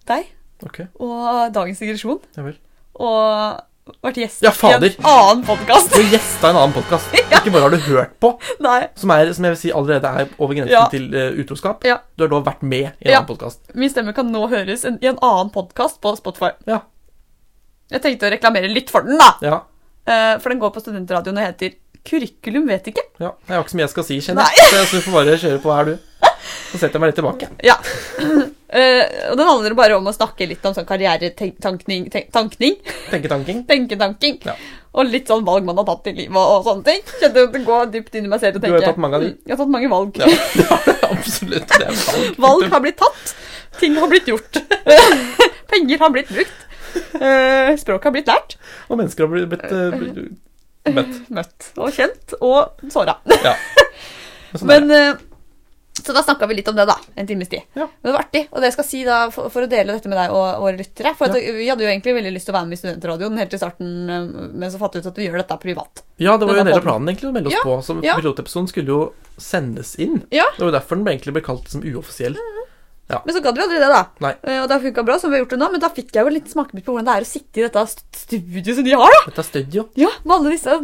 Speaker 2: deg
Speaker 1: Ok,
Speaker 2: og dagens digresjon
Speaker 1: ja vel.
Speaker 2: og vært gjest
Speaker 1: Ja, fader.
Speaker 2: i en annen podkast.
Speaker 1: Du gjesta en annen podkast. Ikke bare har du hørt på,
Speaker 2: Nei.
Speaker 1: som, er, som jeg vil si allerede er over grensen
Speaker 2: Ja.
Speaker 1: til eh, utroskap.
Speaker 2: Ja.
Speaker 1: Du har da vært med i en
Speaker 2: Ja.
Speaker 1: annen podkast.
Speaker 2: Min stemme kan nå høres en- i en annen podkast på Spotify.
Speaker 1: Ja.
Speaker 2: Jeg tenkte å reklamere litt for den, da.
Speaker 1: Ja.
Speaker 2: Eh, For den går på studentradioen og heter Kurrikulum vet ikke.
Speaker 1: ja. Jeg har ikke så mye jeg skal si, kjenner
Speaker 2: Nei.
Speaker 1: jeg. Så jeg- Så du får bare kjøre på her, du. Så setter jeg meg litt tilbake.
Speaker 2: Ja. Eh, Og den handler bare om å snakke litt om sånn karrieretankning tenk- Tankning?
Speaker 1: Tenketanking.
Speaker 2: Tenketanking.
Speaker 1: Ja.
Speaker 2: Og litt sånn valg man har tatt i livet og sånne ting. Kjente at det går dypt inn i meg selv
Speaker 1: Du
Speaker 2: og
Speaker 1: har
Speaker 2: tenker
Speaker 1: tatt mange av de.
Speaker 2: mm, Jeg har tatt mange valg.
Speaker 1: Ja, det har du absolutt. Det er sant.
Speaker 2: Valg har blitt tatt. Ting har blitt gjort. Penger har blitt brukt. Eh, Språk har blitt lært.
Speaker 1: Og mennesker har blitt, blitt, eh, blitt, møtt.
Speaker 2: Møtt og kjent og såra.
Speaker 1: Ja. Men sånn er det.
Speaker 2: Men, eh, så da snakka vi litt om det, da. En times tid.
Speaker 1: Ja.
Speaker 2: Men det var artig. Og det jeg skal si da, for, for å dele dette med deg og våre lyttere For at Vi hadde jo egentlig veldig lyst til å være med i Studentradioen helt til starten, eh, men så fant vi ut at vi gjør dette privat.
Speaker 1: Ja, det var jo en del
Speaker 2: Denne
Speaker 1: av
Speaker 2: podden.
Speaker 1: planen egentlig å melde oss
Speaker 2: Ja,
Speaker 1: på. Så
Speaker 2: ja.
Speaker 1: pilotepisoden skulle jo sendes inn.
Speaker 2: Ja.
Speaker 1: Det var jo derfor den ble egentlig ble kalt som uoffisiell.
Speaker 2: Men så gadd vi aldri det, da.
Speaker 1: Nei.
Speaker 2: Eh, Og det har funka bra, som vi har gjort det nå. Men da fikk jeg jo en liten smakebit på hvordan det er å sitte i dette st- studioet som de har, da.
Speaker 1: Dette er studio.
Speaker 2: Ja, med alle disse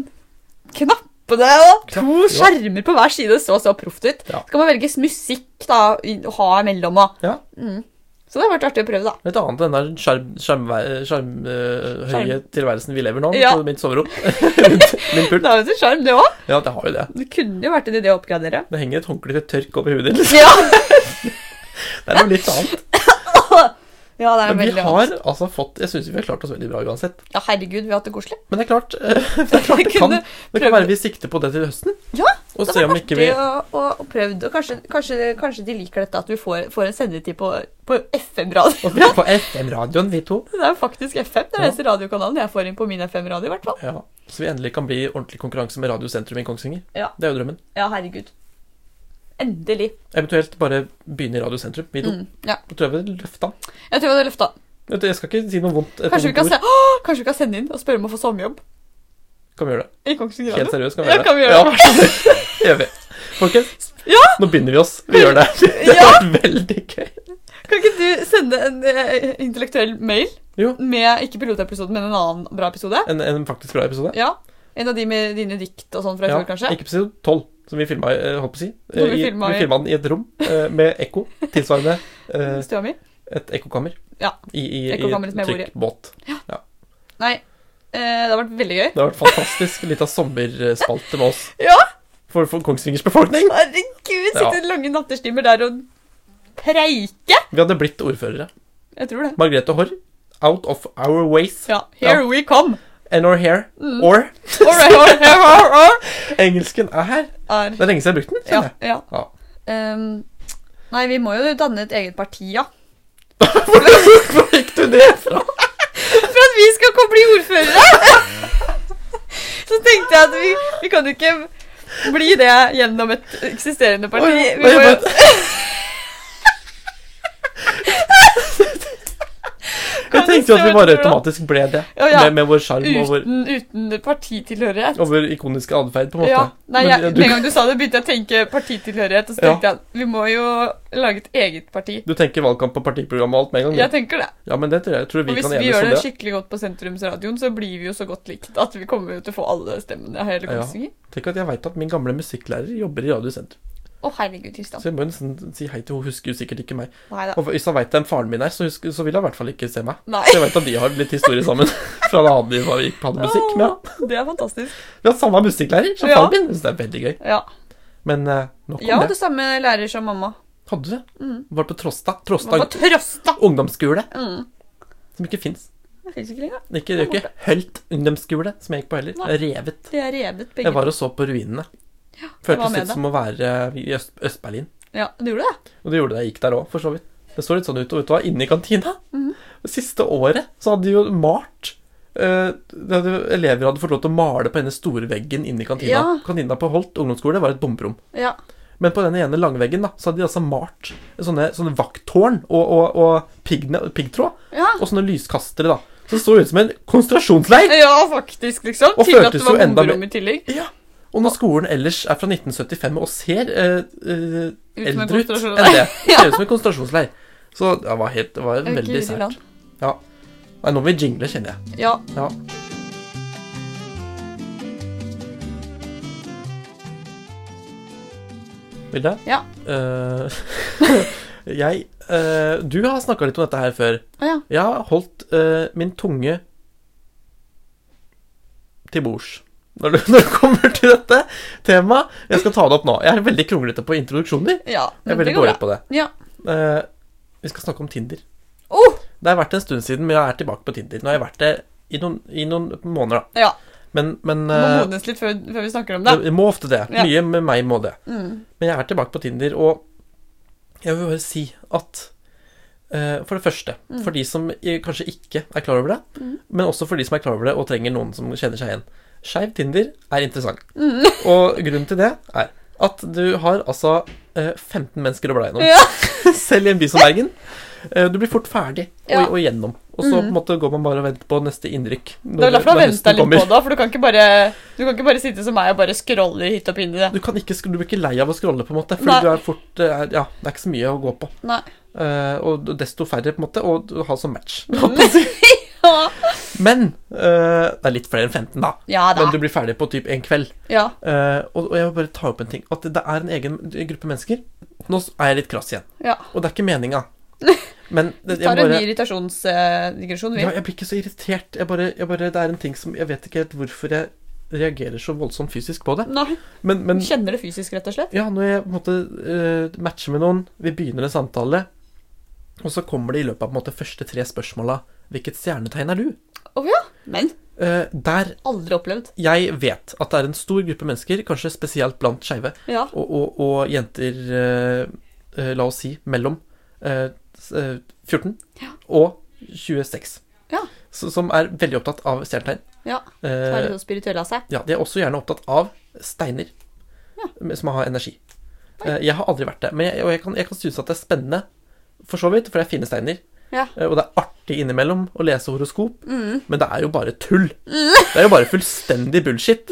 Speaker 2: knappene og to
Speaker 1: Knapp, ja.
Speaker 2: skjermer på hver side. Det så så proft ut.
Speaker 1: Ja.
Speaker 2: Så kan man velge musikk da, i- å ha imellom. Og.
Speaker 1: Ja.
Speaker 2: Mm. Så det har vært artig å prøve, da.
Speaker 1: Et annet enn den der skjerm- skjermvei- skjermhøye
Speaker 2: Skjerm.
Speaker 1: tilværelsen vi lever nå,
Speaker 2: Ja.
Speaker 1: på mitt soverom. Rundt min pult.
Speaker 2: Det er jo sin sjarm, det òg.
Speaker 1: Ja, det har jo det.
Speaker 2: Det kunne jo vært en idé å oppgradere.
Speaker 1: Det henger et håndkle til tørk over hodet ditt. liksom.
Speaker 2: Ja,
Speaker 1: Det er noe litt annet.
Speaker 2: ja det er
Speaker 1: Men vi
Speaker 2: veldig
Speaker 1: har altså fått Jeg syns vi har klart oss veldig bra uansett.
Speaker 2: Ja, herregud, vi har hatt det koselig.
Speaker 1: Men det er klart eh, det, er klart det,
Speaker 2: Vi
Speaker 1: kan,
Speaker 2: kunne
Speaker 1: det kan
Speaker 2: prøvd-
Speaker 1: være vi sikter på det til høsten.
Speaker 2: Ja,
Speaker 1: og
Speaker 2: Det
Speaker 1: se
Speaker 2: har
Speaker 1: om
Speaker 2: vært
Speaker 1: ikke
Speaker 2: artig
Speaker 1: vi
Speaker 2: å- å- å prøvd, og kanskje, kanskje, kanskje de liker dette at du får, får en sendetid på, på FM-radio.
Speaker 1: Og vi er på FM-radioen, vi to.
Speaker 2: Det er jo faktisk FM, det er den
Speaker 1: Ja.
Speaker 2: eneste radiokanalen jeg får inn på min FM-radio. i hvert fall.
Speaker 1: Ja, Så vi endelig kan bli i ordentlig konkurranse med Radiosentrum i Kongsvinger.
Speaker 2: Ja.
Speaker 1: Det er jo drømmen.
Speaker 2: Ja, herregud. Endelig.
Speaker 1: Eventuelt bare begynne i Radiosentrum. Vi to.
Speaker 2: Mm, ja.
Speaker 1: Da tror jeg vi løfta.
Speaker 2: Jeg tror vi hadde løfta.
Speaker 1: Vet du, Jeg skal ikke si noe vondt. et
Speaker 2: Kanskje vi,
Speaker 1: vondt
Speaker 2: kan
Speaker 1: ord.
Speaker 2: se, Åh, kanskje vi kan sende inn og spørre om å få sommerjobb
Speaker 1: Kan vi gjøre det?
Speaker 2: i Kongsvinger
Speaker 1: Helt
Speaker 2: Radio?
Speaker 1: seriøst, kan vi
Speaker 2: Ja,
Speaker 1: gjøre det?
Speaker 2: kan vi gjøre
Speaker 1: Ja, det gjør vi. Folkens,
Speaker 2: Ja!
Speaker 1: nå begynner vi oss. Vi gjør det. Det har vært veldig gøy.
Speaker 2: Kan ikke du sende en eh, intellektuell mail
Speaker 1: Jo.
Speaker 2: med ikke pilotepisoden, men en annen bra episode?
Speaker 1: En, en faktisk bra episode.
Speaker 2: Ja. En av de med dine dikt og sånn fra i fjor, kanskje?
Speaker 1: Ikke episode 12, som vi filma, holdt på å si.
Speaker 2: Som vi
Speaker 1: Eh, i-
Speaker 2: filma i-
Speaker 1: vi filma den i et rom eh, med ekko. Tilsvarende eh,
Speaker 2: Stua mi?
Speaker 1: et ekkokammer.
Speaker 2: Ja.
Speaker 1: I, i, i
Speaker 2: Ekkokammeret som
Speaker 1: et
Speaker 2: jeg bor i.
Speaker 1: trykkbåt.
Speaker 2: Nei. eh, det har vært veldig gøy.
Speaker 1: Det har vært fantastisk. Litt av sommerspalte med oss.
Speaker 2: Ja.
Speaker 1: For, for Kongsvingers befolkning.
Speaker 2: Herregud, sitter
Speaker 1: Ja.
Speaker 2: lange nattestimer der og preike.
Speaker 1: Vi hadde blitt ordførere.
Speaker 2: Jeg tror det.
Speaker 1: Margrethe Haarr. Out of our ways.
Speaker 2: Ja, here we come.
Speaker 1: And or here. Or.
Speaker 2: All right, all right, all right, all right.
Speaker 1: Engelsken er her.
Speaker 2: Er-
Speaker 1: Det er lenge siden jeg har brukt den.
Speaker 2: Ja,
Speaker 1: kjenner jeg.
Speaker 2: ja.
Speaker 1: Ja.
Speaker 2: Ehm, nei, vi må jo danne et eget parti, ja.
Speaker 1: Hvor fikk du det fra?
Speaker 2: For at vi skal komme bli ordførere! Så tenkte jeg at vi, vi kan jo ikke bli det gjennom et eksisterende parti.
Speaker 1: Oi,
Speaker 2: Vi
Speaker 1: oi,
Speaker 2: må jo
Speaker 1: men- Jeg
Speaker 2: Kan du
Speaker 1: tenkte jo
Speaker 2: se
Speaker 1: at vi
Speaker 2: hva
Speaker 1: bare
Speaker 2: du tror da?
Speaker 1: automatisk ble det.
Speaker 2: Ja, ja.
Speaker 1: Med, med vår sjarm og vår,
Speaker 2: uten, uten partitilhørighet.
Speaker 1: og vår ikoniske atferd, på en måte.
Speaker 2: Ja, nei,
Speaker 1: Men,
Speaker 2: jeg,
Speaker 1: ja,
Speaker 2: Med en gang du sa det, begynte jeg å tenke partitilhørighet. Og så
Speaker 1: Ja.
Speaker 2: tenkte jeg at vi må jo lage et eget parti.
Speaker 1: du, du tenker valgkamp på partiprogram og alt med en gang?
Speaker 2: Jeg
Speaker 1: du.
Speaker 2: tenker det.
Speaker 1: Ja, men det tror jeg, tror
Speaker 2: Og
Speaker 1: vi
Speaker 2: hvis
Speaker 1: kan
Speaker 2: vi
Speaker 1: enes
Speaker 2: gjør
Speaker 1: om
Speaker 2: det
Speaker 1: det.
Speaker 2: skikkelig godt på sentrumsradioen, så blir vi jo så godt likt at vi kommer jo til å få alle stemmene av hele
Speaker 1: Ja.
Speaker 2: Kongsvinger.
Speaker 1: Tenk at jeg veit at min gamle musikklærer jobber i Radiosentrum.
Speaker 2: Å, herregud, Kristian.
Speaker 1: Så jeg må nesten si hei til henne. Husker jo sikkert ikke meg.
Speaker 2: Nei da.
Speaker 1: Og hvis han veit hvem faren min er, så, husker, så vil han i hvert fall ikke se meg.
Speaker 2: Nei,
Speaker 1: Så jeg veit at de har litt historie sammen. Fra da vi var- gikk på hadde musikk. Men ja,
Speaker 2: det er fantastisk.
Speaker 1: vi har samme musikklærer som
Speaker 2: Ja.
Speaker 1: faren min. Så det er veldig gøy.
Speaker 2: Ja.
Speaker 1: Men eh, nok om
Speaker 2: Jeg
Speaker 1: det.
Speaker 2: hadde samme lærer som mamma.
Speaker 1: Hadde du det?
Speaker 2: Mm.
Speaker 1: Var på Trosta.
Speaker 2: Mamma
Speaker 1: Trosta
Speaker 2: Trøsta.
Speaker 1: ungdomsskole,
Speaker 2: Mm.
Speaker 1: som ikke fins.
Speaker 2: Det fins ikke lenger.
Speaker 1: Ikke, det er jo ikke Hølt ungdomsskole som jeg gikk på heller.
Speaker 2: Nei.
Speaker 1: Revet.
Speaker 2: De er revet, begge
Speaker 1: Jeg var og så på ruinene.
Speaker 2: hva
Speaker 1: Føltes
Speaker 2: med
Speaker 1: litt
Speaker 2: det?
Speaker 1: som å være i Øst- Øst-Berlin.
Speaker 2: to. Ja, du gjorde det?
Speaker 1: Og det gjorde det. Jeg gikk der òg, for så vidt. Det så litt sånn ut. Og vet du hva, inne i kantina
Speaker 2: Mhm.
Speaker 1: Det siste året så hadde de jo malt. eh, det hadde, elever hadde fått lov til å male på denne store veggen inne i kantina.
Speaker 2: Ja.
Speaker 1: Kantina på Holt ungdomsskole var et bomberom.
Speaker 2: Ja.
Speaker 1: Men på denne ene langveggen da, så hadde de altså malt sånne, sånne vakttårn og, og, og piggne- piggtråd.
Speaker 2: Ja.
Speaker 1: Og sånne lyskastere, da. Så det så ut som en konsentrasjonsleir.
Speaker 2: ja, faktisk, liksom.
Speaker 1: Og
Speaker 2: Til at det
Speaker 1: føltes
Speaker 2: var
Speaker 1: jo enda
Speaker 2: bomberom i tillegg.
Speaker 1: Ja, og når skolen ellers er fra 1975 og ser eh, eh,
Speaker 2: Ut som en
Speaker 1: eldre ut enn
Speaker 2: konsentrasjonsleir.
Speaker 1: det, ser ut som en konsentrasjonsleir. Så det var, helt, det var
Speaker 2: Jeg vil ikke
Speaker 1: veldig
Speaker 2: ut i land.
Speaker 1: sært. Ja. Nei, nå må vi jingle, kjenner jeg.
Speaker 2: Ja.
Speaker 1: Ja. Vilde?
Speaker 2: Ja.
Speaker 1: Eh, jeg eh, Du har snakka litt om dette her før.
Speaker 2: Å ja.
Speaker 1: Jeg har holdt eh, min tunge til bords. Når det, når det kommer til dette temaet. Jeg skal ta det opp nå. Jeg er veldig kronglete på introduksjoner.
Speaker 2: ja.
Speaker 1: Jeg
Speaker 2: Men
Speaker 1: er veldig
Speaker 2: det går
Speaker 1: dårlig
Speaker 2: bra.
Speaker 1: på det.
Speaker 2: Ja.
Speaker 1: Eh, vi skal snakke om Tinder.
Speaker 2: Oh,
Speaker 1: Det har vært en stund siden, men jeg er tilbake på Tinder. Nå har jeg vært det i noen, i noen måneder, da.
Speaker 2: ja.
Speaker 1: Men, men
Speaker 2: Må
Speaker 1: eh,
Speaker 2: modnes litt før, før vi snakker om det.
Speaker 1: det, det må ofte det.
Speaker 2: Ja.
Speaker 1: Mye med meg må det.
Speaker 2: Mm.
Speaker 1: Men jeg er tilbake på Tinder, og jeg vil bare si at eh, For det første,
Speaker 2: Mm.
Speaker 1: for de som i- kanskje ikke er klar over det, men også for de som er klar over det og trenger noen som kjenner seg igjen. Skeiv Tinder er interessant.
Speaker 2: Mm.
Speaker 1: Og grunnen til det er at du har altså eh, 15 mennesker å bla gjennom.
Speaker 2: Ja.
Speaker 1: Selv i en by som Bergen. Eh, Du blir fort ferdig og,
Speaker 2: Ja. Mm.
Speaker 1: og gjennom. Og så på en måte går man bare og venter på neste innrykk.
Speaker 2: Det er vel derfor du har venta
Speaker 1: høsten
Speaker 2: litt på
Speaker 1: kommer.
Speaker 2: det, for du kan ikke bare, du kan ikke bare sitte som meg og bare scrolle i hytt og pinne.
Speaker 1: Du, kan ikke, du blir ikke lei av å scrolle, på en måte. Fordi
Speaker 2: Nei.
Speaker 1: du er fort, eh, er- ja, det er ikke så mye å gå på.
Speaker 2: Nei.
Speaker 1: Eh, og desto færre, på en måte, å å ha som sånn match. holdt på å si. Men eh, Det er litt flere enn 15, da.
Speaker 2: Ja da.
Speaker 1: Men du blir ferdig på typ en kveld.
Speaker 2: Ja.
Speaker 1: Eh, og, og jeg vil bare ta opp en ting. At det er en egen gruppe mennesker. Nå s- er jeg litt krass igjen.
Speaker 2: ja.
Speaker 1: Og det er ikke meninga. Men det,
Speaker 2: Vi
Speaker 1: jeg,
Speaker 2: tar en ny
Speaker 1: bare,
Speaker 2: irritasjonsdigresjon, vi.
Speaker 1: ja, jeg blir ikke så irritert. Jeg bare, jeg bare, det er en ting som Jeg vet ikke helt hvorfor jeg reagerer så voldsomt fysisk på det.
Speaker 2: Nei,
Speaker 1: Men,
Speaker 2: du
Speaker 1: men
Speaker 2: kjenner det fysisk, rett og slett.
Speaker 1: Ja, når jeg på en måte eh, matcher med noen, vi begynner en samtale, og så kommer det i løpet av på en måte første tre spørsmåla Hvilket stjernetegn er du?
Speaker 2: Å ja. Men
Speaker 1: Eh, der
Speaker 2: aldri opplevd.
Speaker 1: jeg vet at det er en stor gruppe mennesker, kanskje spesielt blant skeive,
Speaker 2: Ja.
Speaker 1: og, og, og jenter eh, eh, La oss si mellom eh, s- eh, 14
Speaker 2: Ja.
Speaker 1: og 26.
Speaker 2: Ja.
Speaker 1: Så, som er veldig opptatt av stjernetegn.
Speaker 2: Ja. Så er
Speaker 1: Eh,
Speaker 2: de så spirituelle av seg.
Speaker 1: ja, de er også gjerne opptatt av steiner m- som har energi. Eh, Jeg har aldri vært det, men jeg, og jeg kan, jeg kan synes at det er spennende, for så vidt, for det er fine steiner.
Speaker 2: Ja.
Speaker 1: eh, Og det er artig innimellom å lese horoskop,
Speaker 2: Mm.
Speaker 1: men det er jo bare tull. Det er jo bare fullstendig bullshit.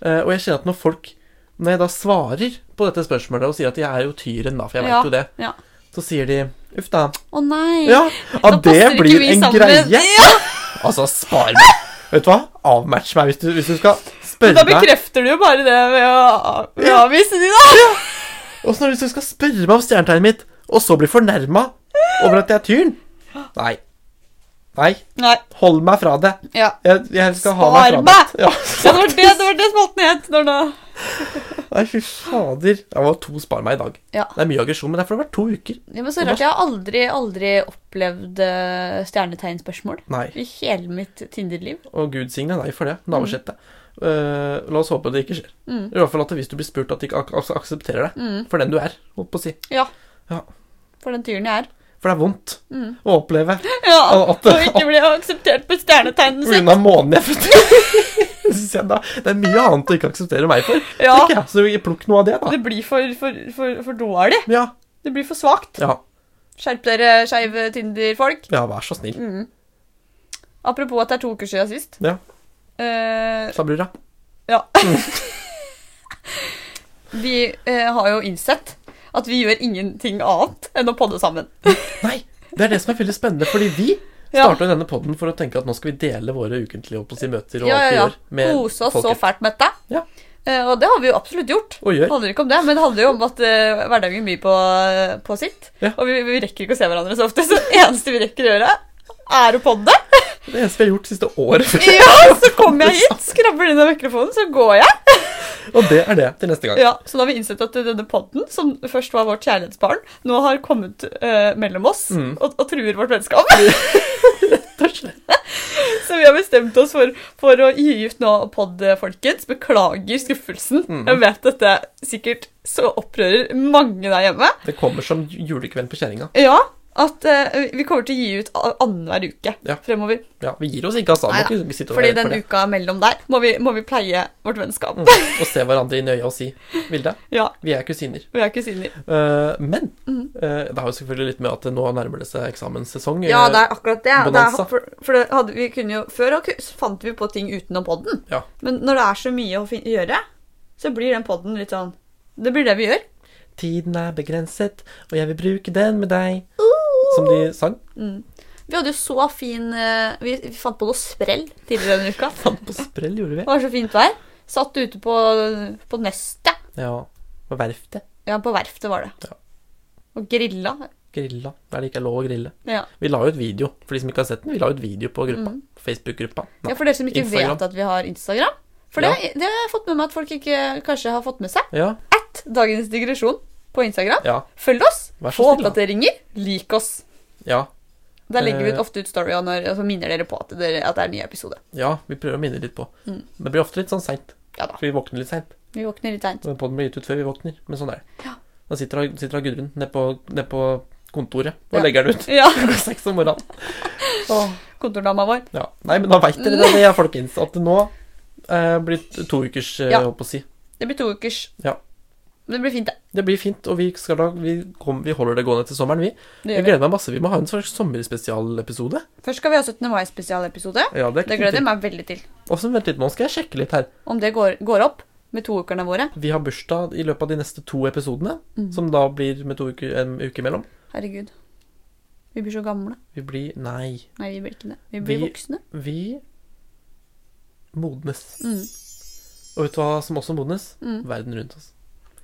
Speaker 1: Eh, Og jeg kjenner at når folk Når jeg da svarer på dette spørsmålet og sier at jeg er jo tyren, da, for jeg vet
Speaker 2: Ja,
Speaker 1: jo det,
Speaker 2: ja.
Speaker 1: så sier de uff da.
Speaker 2: Å nei.
Speaker 1: Ja, ja
Speaker 2: Da passer
Speaker 1: det
Speaker 2: ikke
Speaker 1: blir
Speaker 2: vi
Speaker 1: en
Speaker 2: sammen.
Speaker 1: greie.
Speaker 2: Ja.
Speaker 1: Altså, spar meg. Vet du hva? Avmatch meg hvis du, hvis du skal spørre
Speaker 2: Da
Speaker 1: meg.
Speaker 2: bekrefter du jo bare det ved å ved å
Speaker 1: Ja.
Speaker 2: avvise de, da.
Speaker 1: Åssen er det hvis du skal spørre meg om stjernetegnet mitt, og så bli fornærma over at jeg er tyren? Nei. Nei.
Speaker 2: Nei.
Speaker 1: Hold meg fra det.
Speaker 2: Ja.
Speaker 1: Jeg, jeg skal ha
Speaker 2: Spar
Speaker 1: meg fra det.
Speaker 2: meg!
Speaker 1: Ja.
Speaker 2: Ja, det var det, det, var det spalten het. Når da.
Speaker 1: Nei, fy fader. Det var to spar meg i dag.
Speaker 2: Ja.
Speaker 1: Det er mye aggresjon, men det er fordi det har vært to uker.
Speaker 2: Ja, men så rart, Jeg har aldri, aldri opplevd eh, stjernetegnspørsmål
Speaker 1: Nei.
Speaker 2: i hele mitt Tinder-liv.
Speaker 1: Og gud signe deg for det. Navneskjett deg. Eh, la oss håpe det ikke skjer.
Speaker 2: Mm.
Speaker 1: I hvert fall at hvis du blir spurt, at de ikke ak ak aksepterer deg
Speaker 2: Mm.
Speaker 1: for den du er. Holdt på å si.
Speaker 2: Ja.
Speaker 1: Ja.
Speaker 2: For den tyren jeg er.
Speaker 1: For det er vondt
Speaker 2: Mm.
Speaker 1: å oppleve
Speaker 2: Ja,
Speaker 1: Og at
Speaker 2: Og
Speaker 1: det-
Speaker 2: ikke bli akseptert på stjernetegnet sitt.
Speaker 1: pga. månen jeg fødte. Synes jeg da, Det er mye annet å ikke akseptere meg for.
Speaker 2: Ja,
Speaker 1: tenker jeg. Så plukk noe av det, da.
Speaker 2: Det blir for, for, for, for dårlig.
Speaker 1: Ja,
Speaker 2: Det blir for svakt.
Speaker 1: ja,
Speaker 2: Skjerp dere, skeive Tinder-folk.
Speaker 1: ja vær så snill.
Speaker 2: Mm. Apropos at det er to uker siden sist.
Speaker 1: Ja.
Speaker 2: Eh,
Speaker 1: Sa brura.
Speaker 2: vi eh, har jo innsett at vi gjør ingenting annet enn å podde sammen.
Speaker 1: Nei, det er det som er veldig spennende, fordi vi
Speaker 2: Ja.
Speaker 1: starta denne podden for å tenke at nå skal vi dele våre ukentlige holdt på å si, møter og
Speaker 2: Ja,
Speaker 1: alt vi
Speaker 2: ja,
Speaker 1: gjør
Speaker 2: ja. Kose oss så
Speaker 1: folket.
Speaker 2: fælt med det.
Speaker 1: Ja.
Speaker 2: Eh, og det har vi jo absolutt gjort.
Speaker 1: Og
Speaker 2: Det
Speaker 1: gjør.
Speaker 2: handler ikke om det, men det handler jo om at eh, hverdagen byr på, på sitt.
Speaker 1: Ja.
Speaker 2: Og vi, vi rekker ikke å se hverandre så ofte, så det eneste vi rekker å gjøre, er å podde.
Speaker 1: Det eneste vi har gjort siste året.
Speaker 2: Ja, så kommer jeg hit, skrabber inn av mikrofonen, så går jeg.
Speaker 1: Og det er det til neste gang.
Speaker 2: Ja, Så da har vi innsett at denne podden, som først var vårt kjærlighetsbarn, nå har kommet eh, mellom oss
Speaker 1: Mm.
Speaker 2: og, og truer vårt vennskap.
Speaker 1: Rett og slett.
Speaker 2: Så vi har bestemt oss for, for å gi ut nå pod, folkens. Beklager skuffelsen.
Speaker 1: Mm.
Speaker 2: Jeg vet dette sikkert så opprører mange der hjemme.
Speaker 1: Det kommer som julekveld på kjerringa.
Speaker 2: Ja, at eh, vi kommer til å gi ut a- annenhver uke
Speaker 1: Ja.
Speaker 2: fremover.
Speaker 1: Ja, vi gir oss ikke, altså.
Speaker 2: Neida,
Speaker 1: Må ikke sitte og
Speaker 2: Fordi
Speaker 1: høre
Speaker 2: den
Speaker 1: på det.
Speaker 2: uka mellom der må vi, må vi pleie vårt vennskap.
Speaker 1: Mm. Og se hverandre inn i øya og si Vilde,
Speaker 2: Ja,
Speaker 1: vi er kusiner.
Speaker 2: vi er kusiner.
Speaker 1: Eh, men
Speaker 2: Mm.
Speaker 1: eh, det har jo selvfølgelig litt med at nå nærmer det seg eksamenssesong.
Speaker 2: Ja,
Speaker 1: Eh,
Speaker 2: det er akkurat det. det er,
Speaker 1: Bonanza.
Speaker 2: for for det hadde, vi kunne jo, før ok, så fant vi på ting utenom podden.
Speaker 1: Ja.
Speaker 2: Men når det er så mye å fin gjøre, så blir den podden litt sånn Det blir det vi gjør.
Speaker 1: Tiden er begrenset, og jeg vil bruke den med deg. Som de sang.
Speaker 2: Mm. Vi hadde jo så fin eh, Vi vi fant på noe sprell tidligere denne uka.
Speaker 1: Fant på sprell, gjorde vi.
Speaker 2: Det var så fint vær. Satt ute på, på Nestet.
Speaker 1: Ja. På verftet.
Speaker 2: Ja, på verftet var det.
Speaker 1: Ja.
Speaker 2: Og grilla.
Speaker 1: Grilla. Der det ikke er lov å grille.
Speaker 2: Ja.
Speaker 1: Vi la ut video, for de som ikke har sett den. Vi la ut video på gruppa.
Speaker 2: Mm.
Speaker 1: Facebook-gruppa. Nei.
Speaker 2: ja, for dere som ikke
Speaker 1: Instagram.
Speaker 2: vet at vi har Instagram. For det, det har jeg fått med meg at folk ikke kanskje har fått med seg.
Speaker 1: Ja.
Speaker 2: At Dagens digresjon på Instagram.
Speaker 1: Ja.
Speaker 2: Følg oss,
Speaker 1: Vær så
Speaker 2: få
Speaker 1: snill, da.
Speaker 2: oppdateringer, lik oss.
Speaker 1: Ja.
Speaker 2: Der legger vi
Speaker 1: Eh.
Speaker 2: ut ofte ut storyer når, og så minner dere på at, dere, at det er en ny episode.
Speaker 1: ja vi prøver å minne litt på.
Speaker 2: Mm.
Speaker 1: Men det blir ofte litt sånn seint.
Speaker 2: Ja da.
Speaker 1: For vi våkner litt seint.
Speaker 2: Vi våkner litt seint.
Speaker 1: Podden blir gitt ut før vi våkner. Men sånn er det.
Speaker 2: Ja.
Speaker 1: Da sitter, sitter Gudrun nede på, ned på kontoret og
Speaker 2: Ja.
Speaker 1: legger den ut
Speaker 2: Ja,
Speaker 1: klokka seks om morgenen.
Speaker 2: kontordama vår.
Speaker 1: Ja. Nei, men da veit dere det, det, folkens. At det nå eh, blir to ukers, eh,
Speaker 2: Ja.
Speaker 1: holdt på å si.
Speaker 2: Det blir to ukers.
Speaker 1: Ja.
Speaker 2: Men det blir fint, det.
Speaker 1: Det blir fint, og vi, skal da, vi, kom, vi holder det gående til sommeren, vi.
Speaker 2: det
Speaker 1: Jeg
Speaker 2: gjør vi.
Speaker 1: gleder meg masse. Vi må ha en slags sommerspesialepisode.
Speaker 2: Først skal vi ha 17. mai-spesialepisode.
Speaker 1: Ja, det
Speaker 2: Det gleder jeg meg veldig til.
Speaker 1: Og så vent litt, nå skal jeg sjekke litt her.
Speaker 2: Om det går, går opp med to ukerne våre.
Speaker 1: Vi har bursdag i løpet av de neste to episodene,
Speaker 2: Mhm.
Speaker 1: som da blir med to uker, en uke imellom.
Speaker 2: Herregud. Vi blir så gamle.
Speaker 1: Vi blir Nei.
Speaker 2: Nei, vi blir ikke det. Vi blir
Speaker 1: Vi-
Speaker 2: voksne.
Speaker 1: Vi modnes.
Speaker 2: Mm.
Speaker 1: Og vet du hva som også modnes?
Speaker 2: Mm.
Speaker 1: Verden rundt oss.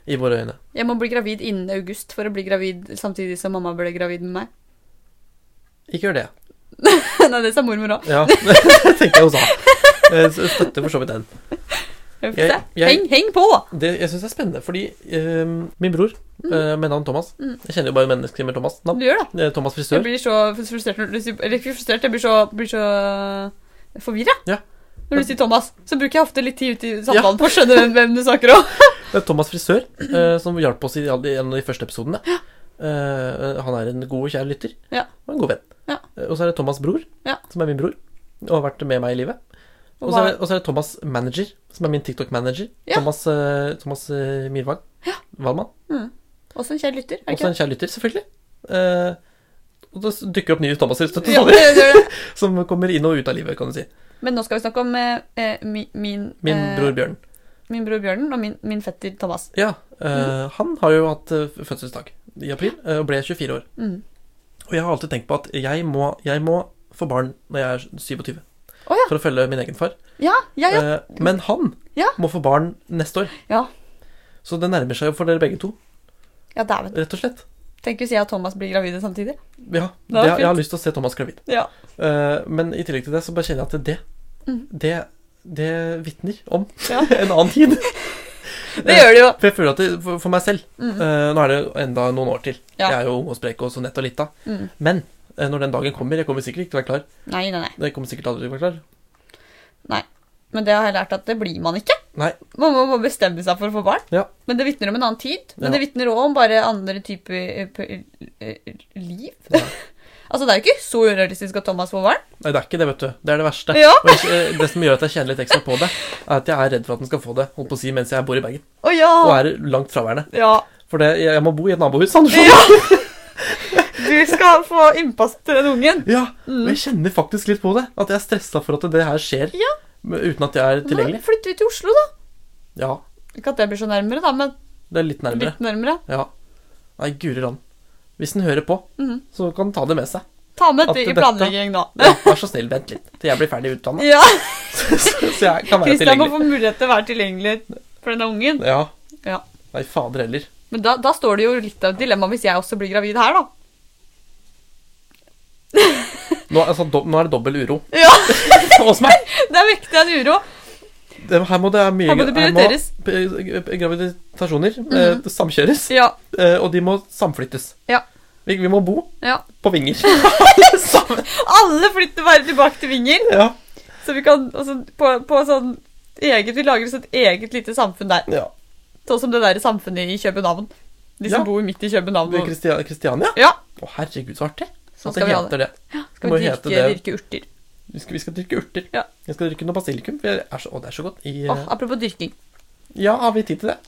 Speaker 1: I våre øyne.
Speaker 2: Jeg må bli gravid innen august for å bli gravid samtidig som mamma ble gravid med meg.
Speaker 1: Ikke gjør det.
Speaker 2: Nei, det sa mormor òg.
Speaker 1: Ja, det tenker jeg hun sa. Eh, så jeg Støtter for så vidt den. Jeg- jeg-
Speaker 2: Heng, heng på!
Speaker 1: Det, jeg syns det er spennende, fordi eh, min bror eh, med navn Thomas
Speaker 2: Mm.
Speaker 1: Jeg kjenner jo bare mennesker med Thomas navn.
Speaker 2: Du gjør det.
Speaker 1: Eh, Thomas
Speaker 2: Jeg
Speaker 1: frisør.
Speaker 2: blir så frustrert når du sier Eller ikke frustrert, jeg blir så, blir så forvirra.
Speaker 1: Ja.
Speaker 2: Når du sier Thomas, så bruker jeg ofte litt tid ut i samtalen på å skjønne hvem, hvem du snakker om.
Speaker 1: Det er Thomas frisør, eh, som hjalp oss i all- i en av de første episodene. Eh, han er en god og kjær lytter,
Speaker 2: Ja.
Speaker 1: og en god venn.
Speaker 2: Ja.
Speaker 1: Eh, og så er det Thomas bror,
Speaker 2: Ja.
Speaker 1: som er min bror, og har vært med meg i livet. Og så er, det- og så er det Thomas manager, som er min TikTok-manager.
Speaker 2: Ja.
Speaker 1: Thomas, eh, Thomas eh, Myrvang. Valmann.
Speaker 2: mm. Også en kjær lytter. er
Speaker 1: Også
Speaker 2: det ikke
Speaker 1: en
Speaker 2: det?
Speaker 1: kjær lytter, selvfølgelig. Eh, og da dukker opp nye Thomaser støtt og
Speaker 2: Ja,
Speaker 1: stadig,
Speaker 2: det gjør det.
Speaker 1: som kommer inn og ut av livet, kan du si.
Speaker 2: Men nå skal vi snakke om eh, eh, mi, min,
Speaker 1: Min
Speaker 2: eh,
Speaker 1: bror Bjørn.
Speaker 2: min bror Bjørnen og min, min fetter Thomas.
Speaker 1: Ja,
Speaker 2: Mm.
Speaker 1: eh, han har jo hatt eh, fødselsdag i april, eh, og ble 24 år.
Speaker 2: Mm.
Speaker 1: Og jeg har alltid tenkt på at jeg må, jeg må få barn når jeg er 27.
Speaker 2: Å ja.
Speaker 1: For å følge min egen far.
Speaker 2: Ja, ja, ja.
Speaker 1: Eh, Men han
Speaker 2: Ja.
Speaker 1: må få barn neste år.
Speaker 2: Ja.
Speaker 1: Så det nærmer seg jo for dere begge to,
Speaker 2: ja dæven.
Speaker 1: rett og slett.
Speaker 2: Tenk hvis jeg og Thomas blir gravide samtidig.
Speaker 1: Ja,
Speaker 2: Det er
Speaker 1: det, jeg har
Speaker 2: fint.
Speaker 1: lyst til å se Thomas gravid.
Speaker 2: Ja.
Speaker 1: Eh, Men i tillegg til det så bare kjenner jeg at det,
Speaker 2: Mm.
Speaker 1: det, det vitner om
Speaker 2: Ja.
Speaker 1: en annen tid.
Speaker 2: Det gjør det jo.
Speaker 1: For jeg føler at det, for, for meg selv
Speaker 2: Mm.
Speaker 1: eh, Nå er det enda noen år til.
Speaker 2: Ja.
Speaker 1: Jeg er jo ung og sprek og så nett og lita.
Speaker 2: Mm.
Speaker 1: Men eh, når den dagen kommer Jeg kommer sikkert ikke til å være klar.
Speaker 2: Nei, nei, nei.
Speaker 1: Jeg kommer sikkert aldri til å være klar.
Speaker 2: Men det har jeg lært at det blir man ikke.
Speaker 1: Nei.
Speaker 2: Man må bare bestemme seg for å få barn.
Speaker 1: Ja.
Speaker 2: Men det vitner om en annen tid.
Speaker 1: Ja.
Speaker 2: Men det vitner òg om bare andre typer eh, p- eh, liv.
Speaker 1: Ja.
Speaker 2: altså, det er jo ikke så urealistisk at Thomas får barn.
Speaker 1: Nei, det er ikke det, vet du. Det er det verste.
Speaker 2: Ja.
Speaker 1: Og jeg, eh, det som gjør at jeg kjenner litt ekstra på det, er at jeg er redd for at den skal få det holdt på å si, mens jeg bor i Bergen.
Speaker 2: Å ja!
Speaker 1: Og er langt fraværende.
Speaker 2: ja.
Speaker 1: For det, jeg, jeg må bo i et nabohus. Andersson.
Speaker 2: Du skal få innpass til den ungen. Mm.
Speaker 1: Ja, og jeg kjenner faktisk litt på det. At jeg er stressa for at det her skjer
Speaker 2: Ja.
Speaker 1: men uten at jeg er
Speaker 2: Da
Speaker 1: tilgjengelig.
Speaker 2: flytter vi til Oslo, da.
Speaker 1: Ja,
Speaker 2: Ikke at det blir så nærmere, da, men
Speaker 1: det er litt nærmere.
Speaker 2: litt nærmere.
Speaker 1: Ja. Nei, guri land. Hvis den hører på,
Speaker 2: Mhm.
Speaker 1: så kan den ta det med seg.
Speaker 2: Ta med
Speaker 1: At
Speaker 2: det i
Speaker 1: dette-
Speaker 2: planlegging nå.
Speaker 1: Ja, vær så snill, vent litt til jeg blir ferdig utdanna.
Speaker 2: Ja,
Speaker 1: Så jeg kan være
Speaker 2: Kristian
Speaker 1: tilgjengelig.
Speaker 2: må få mulighet til å være tilgjengelig for denne ungen.
Speaker 1: Ja.
Speaker 2: Ja.
Speaker 1: Nei, fader heller.
Speaker 2: Men da, da står det jo litt av et dilemma hvis jeg også blir gravid her, da.
Speaker 1: Nå, altså, do, nå er det dobbel uro
Speaker 2: Ja,
Speaker 1: hos meg.
Speaker 2: Det er viktig av en uro.
Speaker 1: Det, her må det mye
Speaker 2: Her må det prioriteres. Mhm.
Speaker 1: p- p- Graviditasjoner eh, samkjøres,
Speaker 2: Ja.
Speaker 1: eh, og de må samflyttes.
Speaker 2: Ja.
Speaker 1: Vi, vi må bo
Speaker 2: ja.
Speaker 1: på vinger. Sammen.
Speaker 2: Alle flytter bare tilbake til Vinger.
Speaker 1: ja.
Speaker 2: Så vi kan altså, på, på sånn eget, Vi lager oss et eget lite samfunn der.
Speaker 1: ja.
Speaker 2: Sånn som det der samfunnet i København. De som
Speaker 1: Ja.
Speaker 2: bor midt i København. og-
Speaker 1: Kristiania? Kristiania?
Speaker 2: Ja,
Speaker 1: Å, herregud, så artig.
Speaker 2: Sånn
Speaker 1: At det
Speaker 2: skal vi ha det.
Speaker 1: heter det.
Speaker 2: Skal
Speaker 1: Må
Speaker 2: vi
Speaker 1: hete
Speaker 2: dyrke,
Speaker 1: det.
Speaker 2: dyrke urter.
Speaker 1: Vi skal, vi skal dyrke urter.
Speaker 2: Ja.
Speaker 1: Jeg skal dyrke noe basilikum. For jeg er så, å, det er så godt. I, eh,
Speaker 2: Åh, apropos dyrking.
Speaker 1: Ja, har vi tid til det?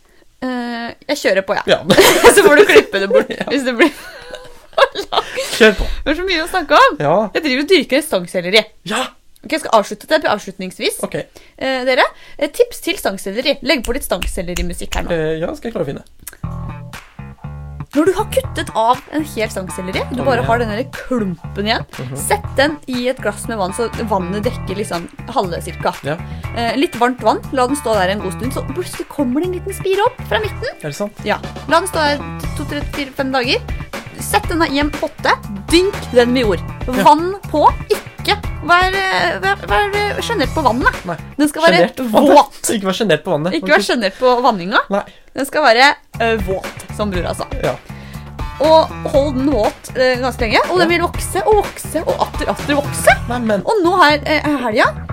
Speaker 2: Eh, jeg kjører på, jeg.
Speaker 1: Ja.
Speaker 2: Så får du klippe det bort hvis det blir
Speaker 1: Kjør på.
Speaker 2: Det er så mye å snakke om.
Speaker 1: Ja.
Speaker 2: Jeg driver og dyrker stangselleri.
Speaker 1: Ja!
Speaker 2: Ok, jeg skal avslutte det avslutningsvis.
Speaker 1: Ok.
Speaker 2: Eh, dere, eh, tips til stangselleri. Legg på litt stangsellerimusikk her nå.
Speaker 1: Eh, ja, skal jeg klare å finne.
Speaker 2: Når du har kuttet av en hel stangselleri, du
Speaker 1: Kom
Speaker 2: bare
Speaker 1: igjen.
Speaker 2: har den der klumpen igjen,
Speaker 1: Mhm.
Speaker 2: sett den i et glass med vann, så vannet dekker liksom halve cirka.
Speaker 1: Ja.
Speaker 2: Eh, litt varmt vann, la den stå der en god stund, så plutselig kommer det en liten spire opp fra midten.
Speaker 1: Er det sant?
Speaker 2: Ja. La den stå her to, tre, fire, fem dager. Sett denne i en potte. Dynk den med jord. Vann på. Ikke vær, eh, vær, vær sjenert på vannet.
Speaker 1: Nei.
Speaker 2: Den skal være
Speaker 1: Sjenert på vannet.
Speaker 2: våt.
Speaker 1: Ikke vær sjenert på vannet.
Speaker 2: Ikke vær sjenert på vanninga.
Speaker 1: Nei.
Speaker 2: Den skal være eh, våt, som brura sa.
Speaker 1: Ja.
Speaker 2: Og hold den våt eh, ganske lenge, og den
Speaker 1: Ja.
Speaker 2: vil vokse og vokse og atter atter vokse.
Speaker 1: Nei, men
Speaker 2: Og nå her eh, helga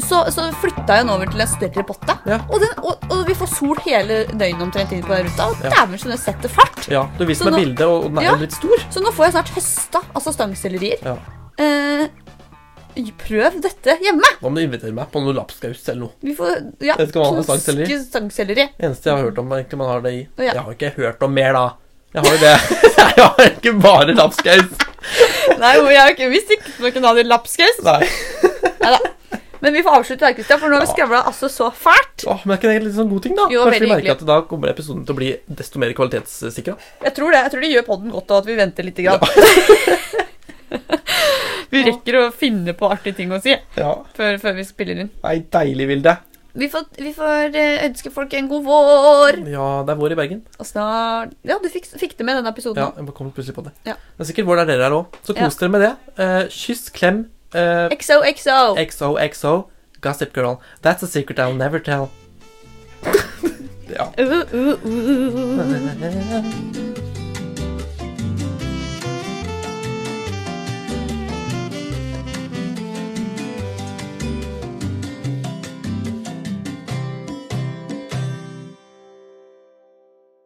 Speaker 2: så, så flytta jeg den over til en større potte.
Speaker 1: Ja.
Speaker 2: Og, den, og, og vi får sol hele døgnet omtrent inn på den ruta. Og
Speaker 1: Ja.
Speaker 2: dæven som den setter fart.
Speaker 1: Ja, du viste
Speaker 2: Så
Speaker 1: meg
Speaker 2: nå-
Speaker 1: bildet, og og den er
Speaker 2: Ja.
Speaker 1: jo litt stor.
Speaker 2: Så nå får jeg snart høsta, altså stangsellerier.
Speaker 1: Ja.
Speaker 2: Eh, prøv dette hjemme.
Speaker 1: Nå må du invitere meg på noe lapskaus eller noe.
Speaker 2: Vi får ja,
Speaker 1: Vet ikke hva man har stangselleri.
Speaker 2: knaske stangselleri.
Speaker 1: Eneste jeg har hørt om egentlig man har det i.
Speaker 2: Ja.
Speaker 1: Jeg har ikke hørt om mer, da. Jeg har jo det. Jeg har ikke bare lapskaus.
Speaker 2: Nei, jo, jeg har ikke visst ikke man kunne ha det i lapskaus.
Speaker 1: Nei.
Speaker 2: Neida. Men vi får avslutte her, Kristian, for nå har vi skravla altså så fælt.
Speaker 1: Åh, men er ikke det litt sånn god ting, da?
Speaker 2: Jo,
Speaker 1: Kanskje vi
Speaker 2: veldig
Speaker 1: merker
Speaker 2: hyggelig.
Speaker 1: at da kommer episoden til å bli desto mer kvalitetssikra.
Speaker 2: Jeg tror det jeg tror det gjør podden godt, og at vi venter litt. Grann. vi rekker å finne på artige ting å si
Speaker 1: Ja.
Speaker 2: før, før vi spiller inn.
Speaker 1: Nei, deilig, Vilde.
Speaker 2: Vi får, vi får eh, ønske folk en god vår.
Speaker 1: Ja, det er vår i Bergen.
Speaker 2: Og snart Ja, du fikk, fikk det med denne episoden.
Speaker 1: Ja, jeg bare kom plutselig på det.
Speaker 2: Ja.
Speaker 1: Det er sikkert vår der dere er òg. Så
Speaker 2: Ja.
Speaker 1: kos dere med det. Eh, kyss, klem. eh,
Speaker 2: XOXO.
Speaker 1: XOXO. Gossip girl. That's a secret I'll never tell. ja.
Speaker 2: Uh, uh, uh.
Speaker 1: Nei,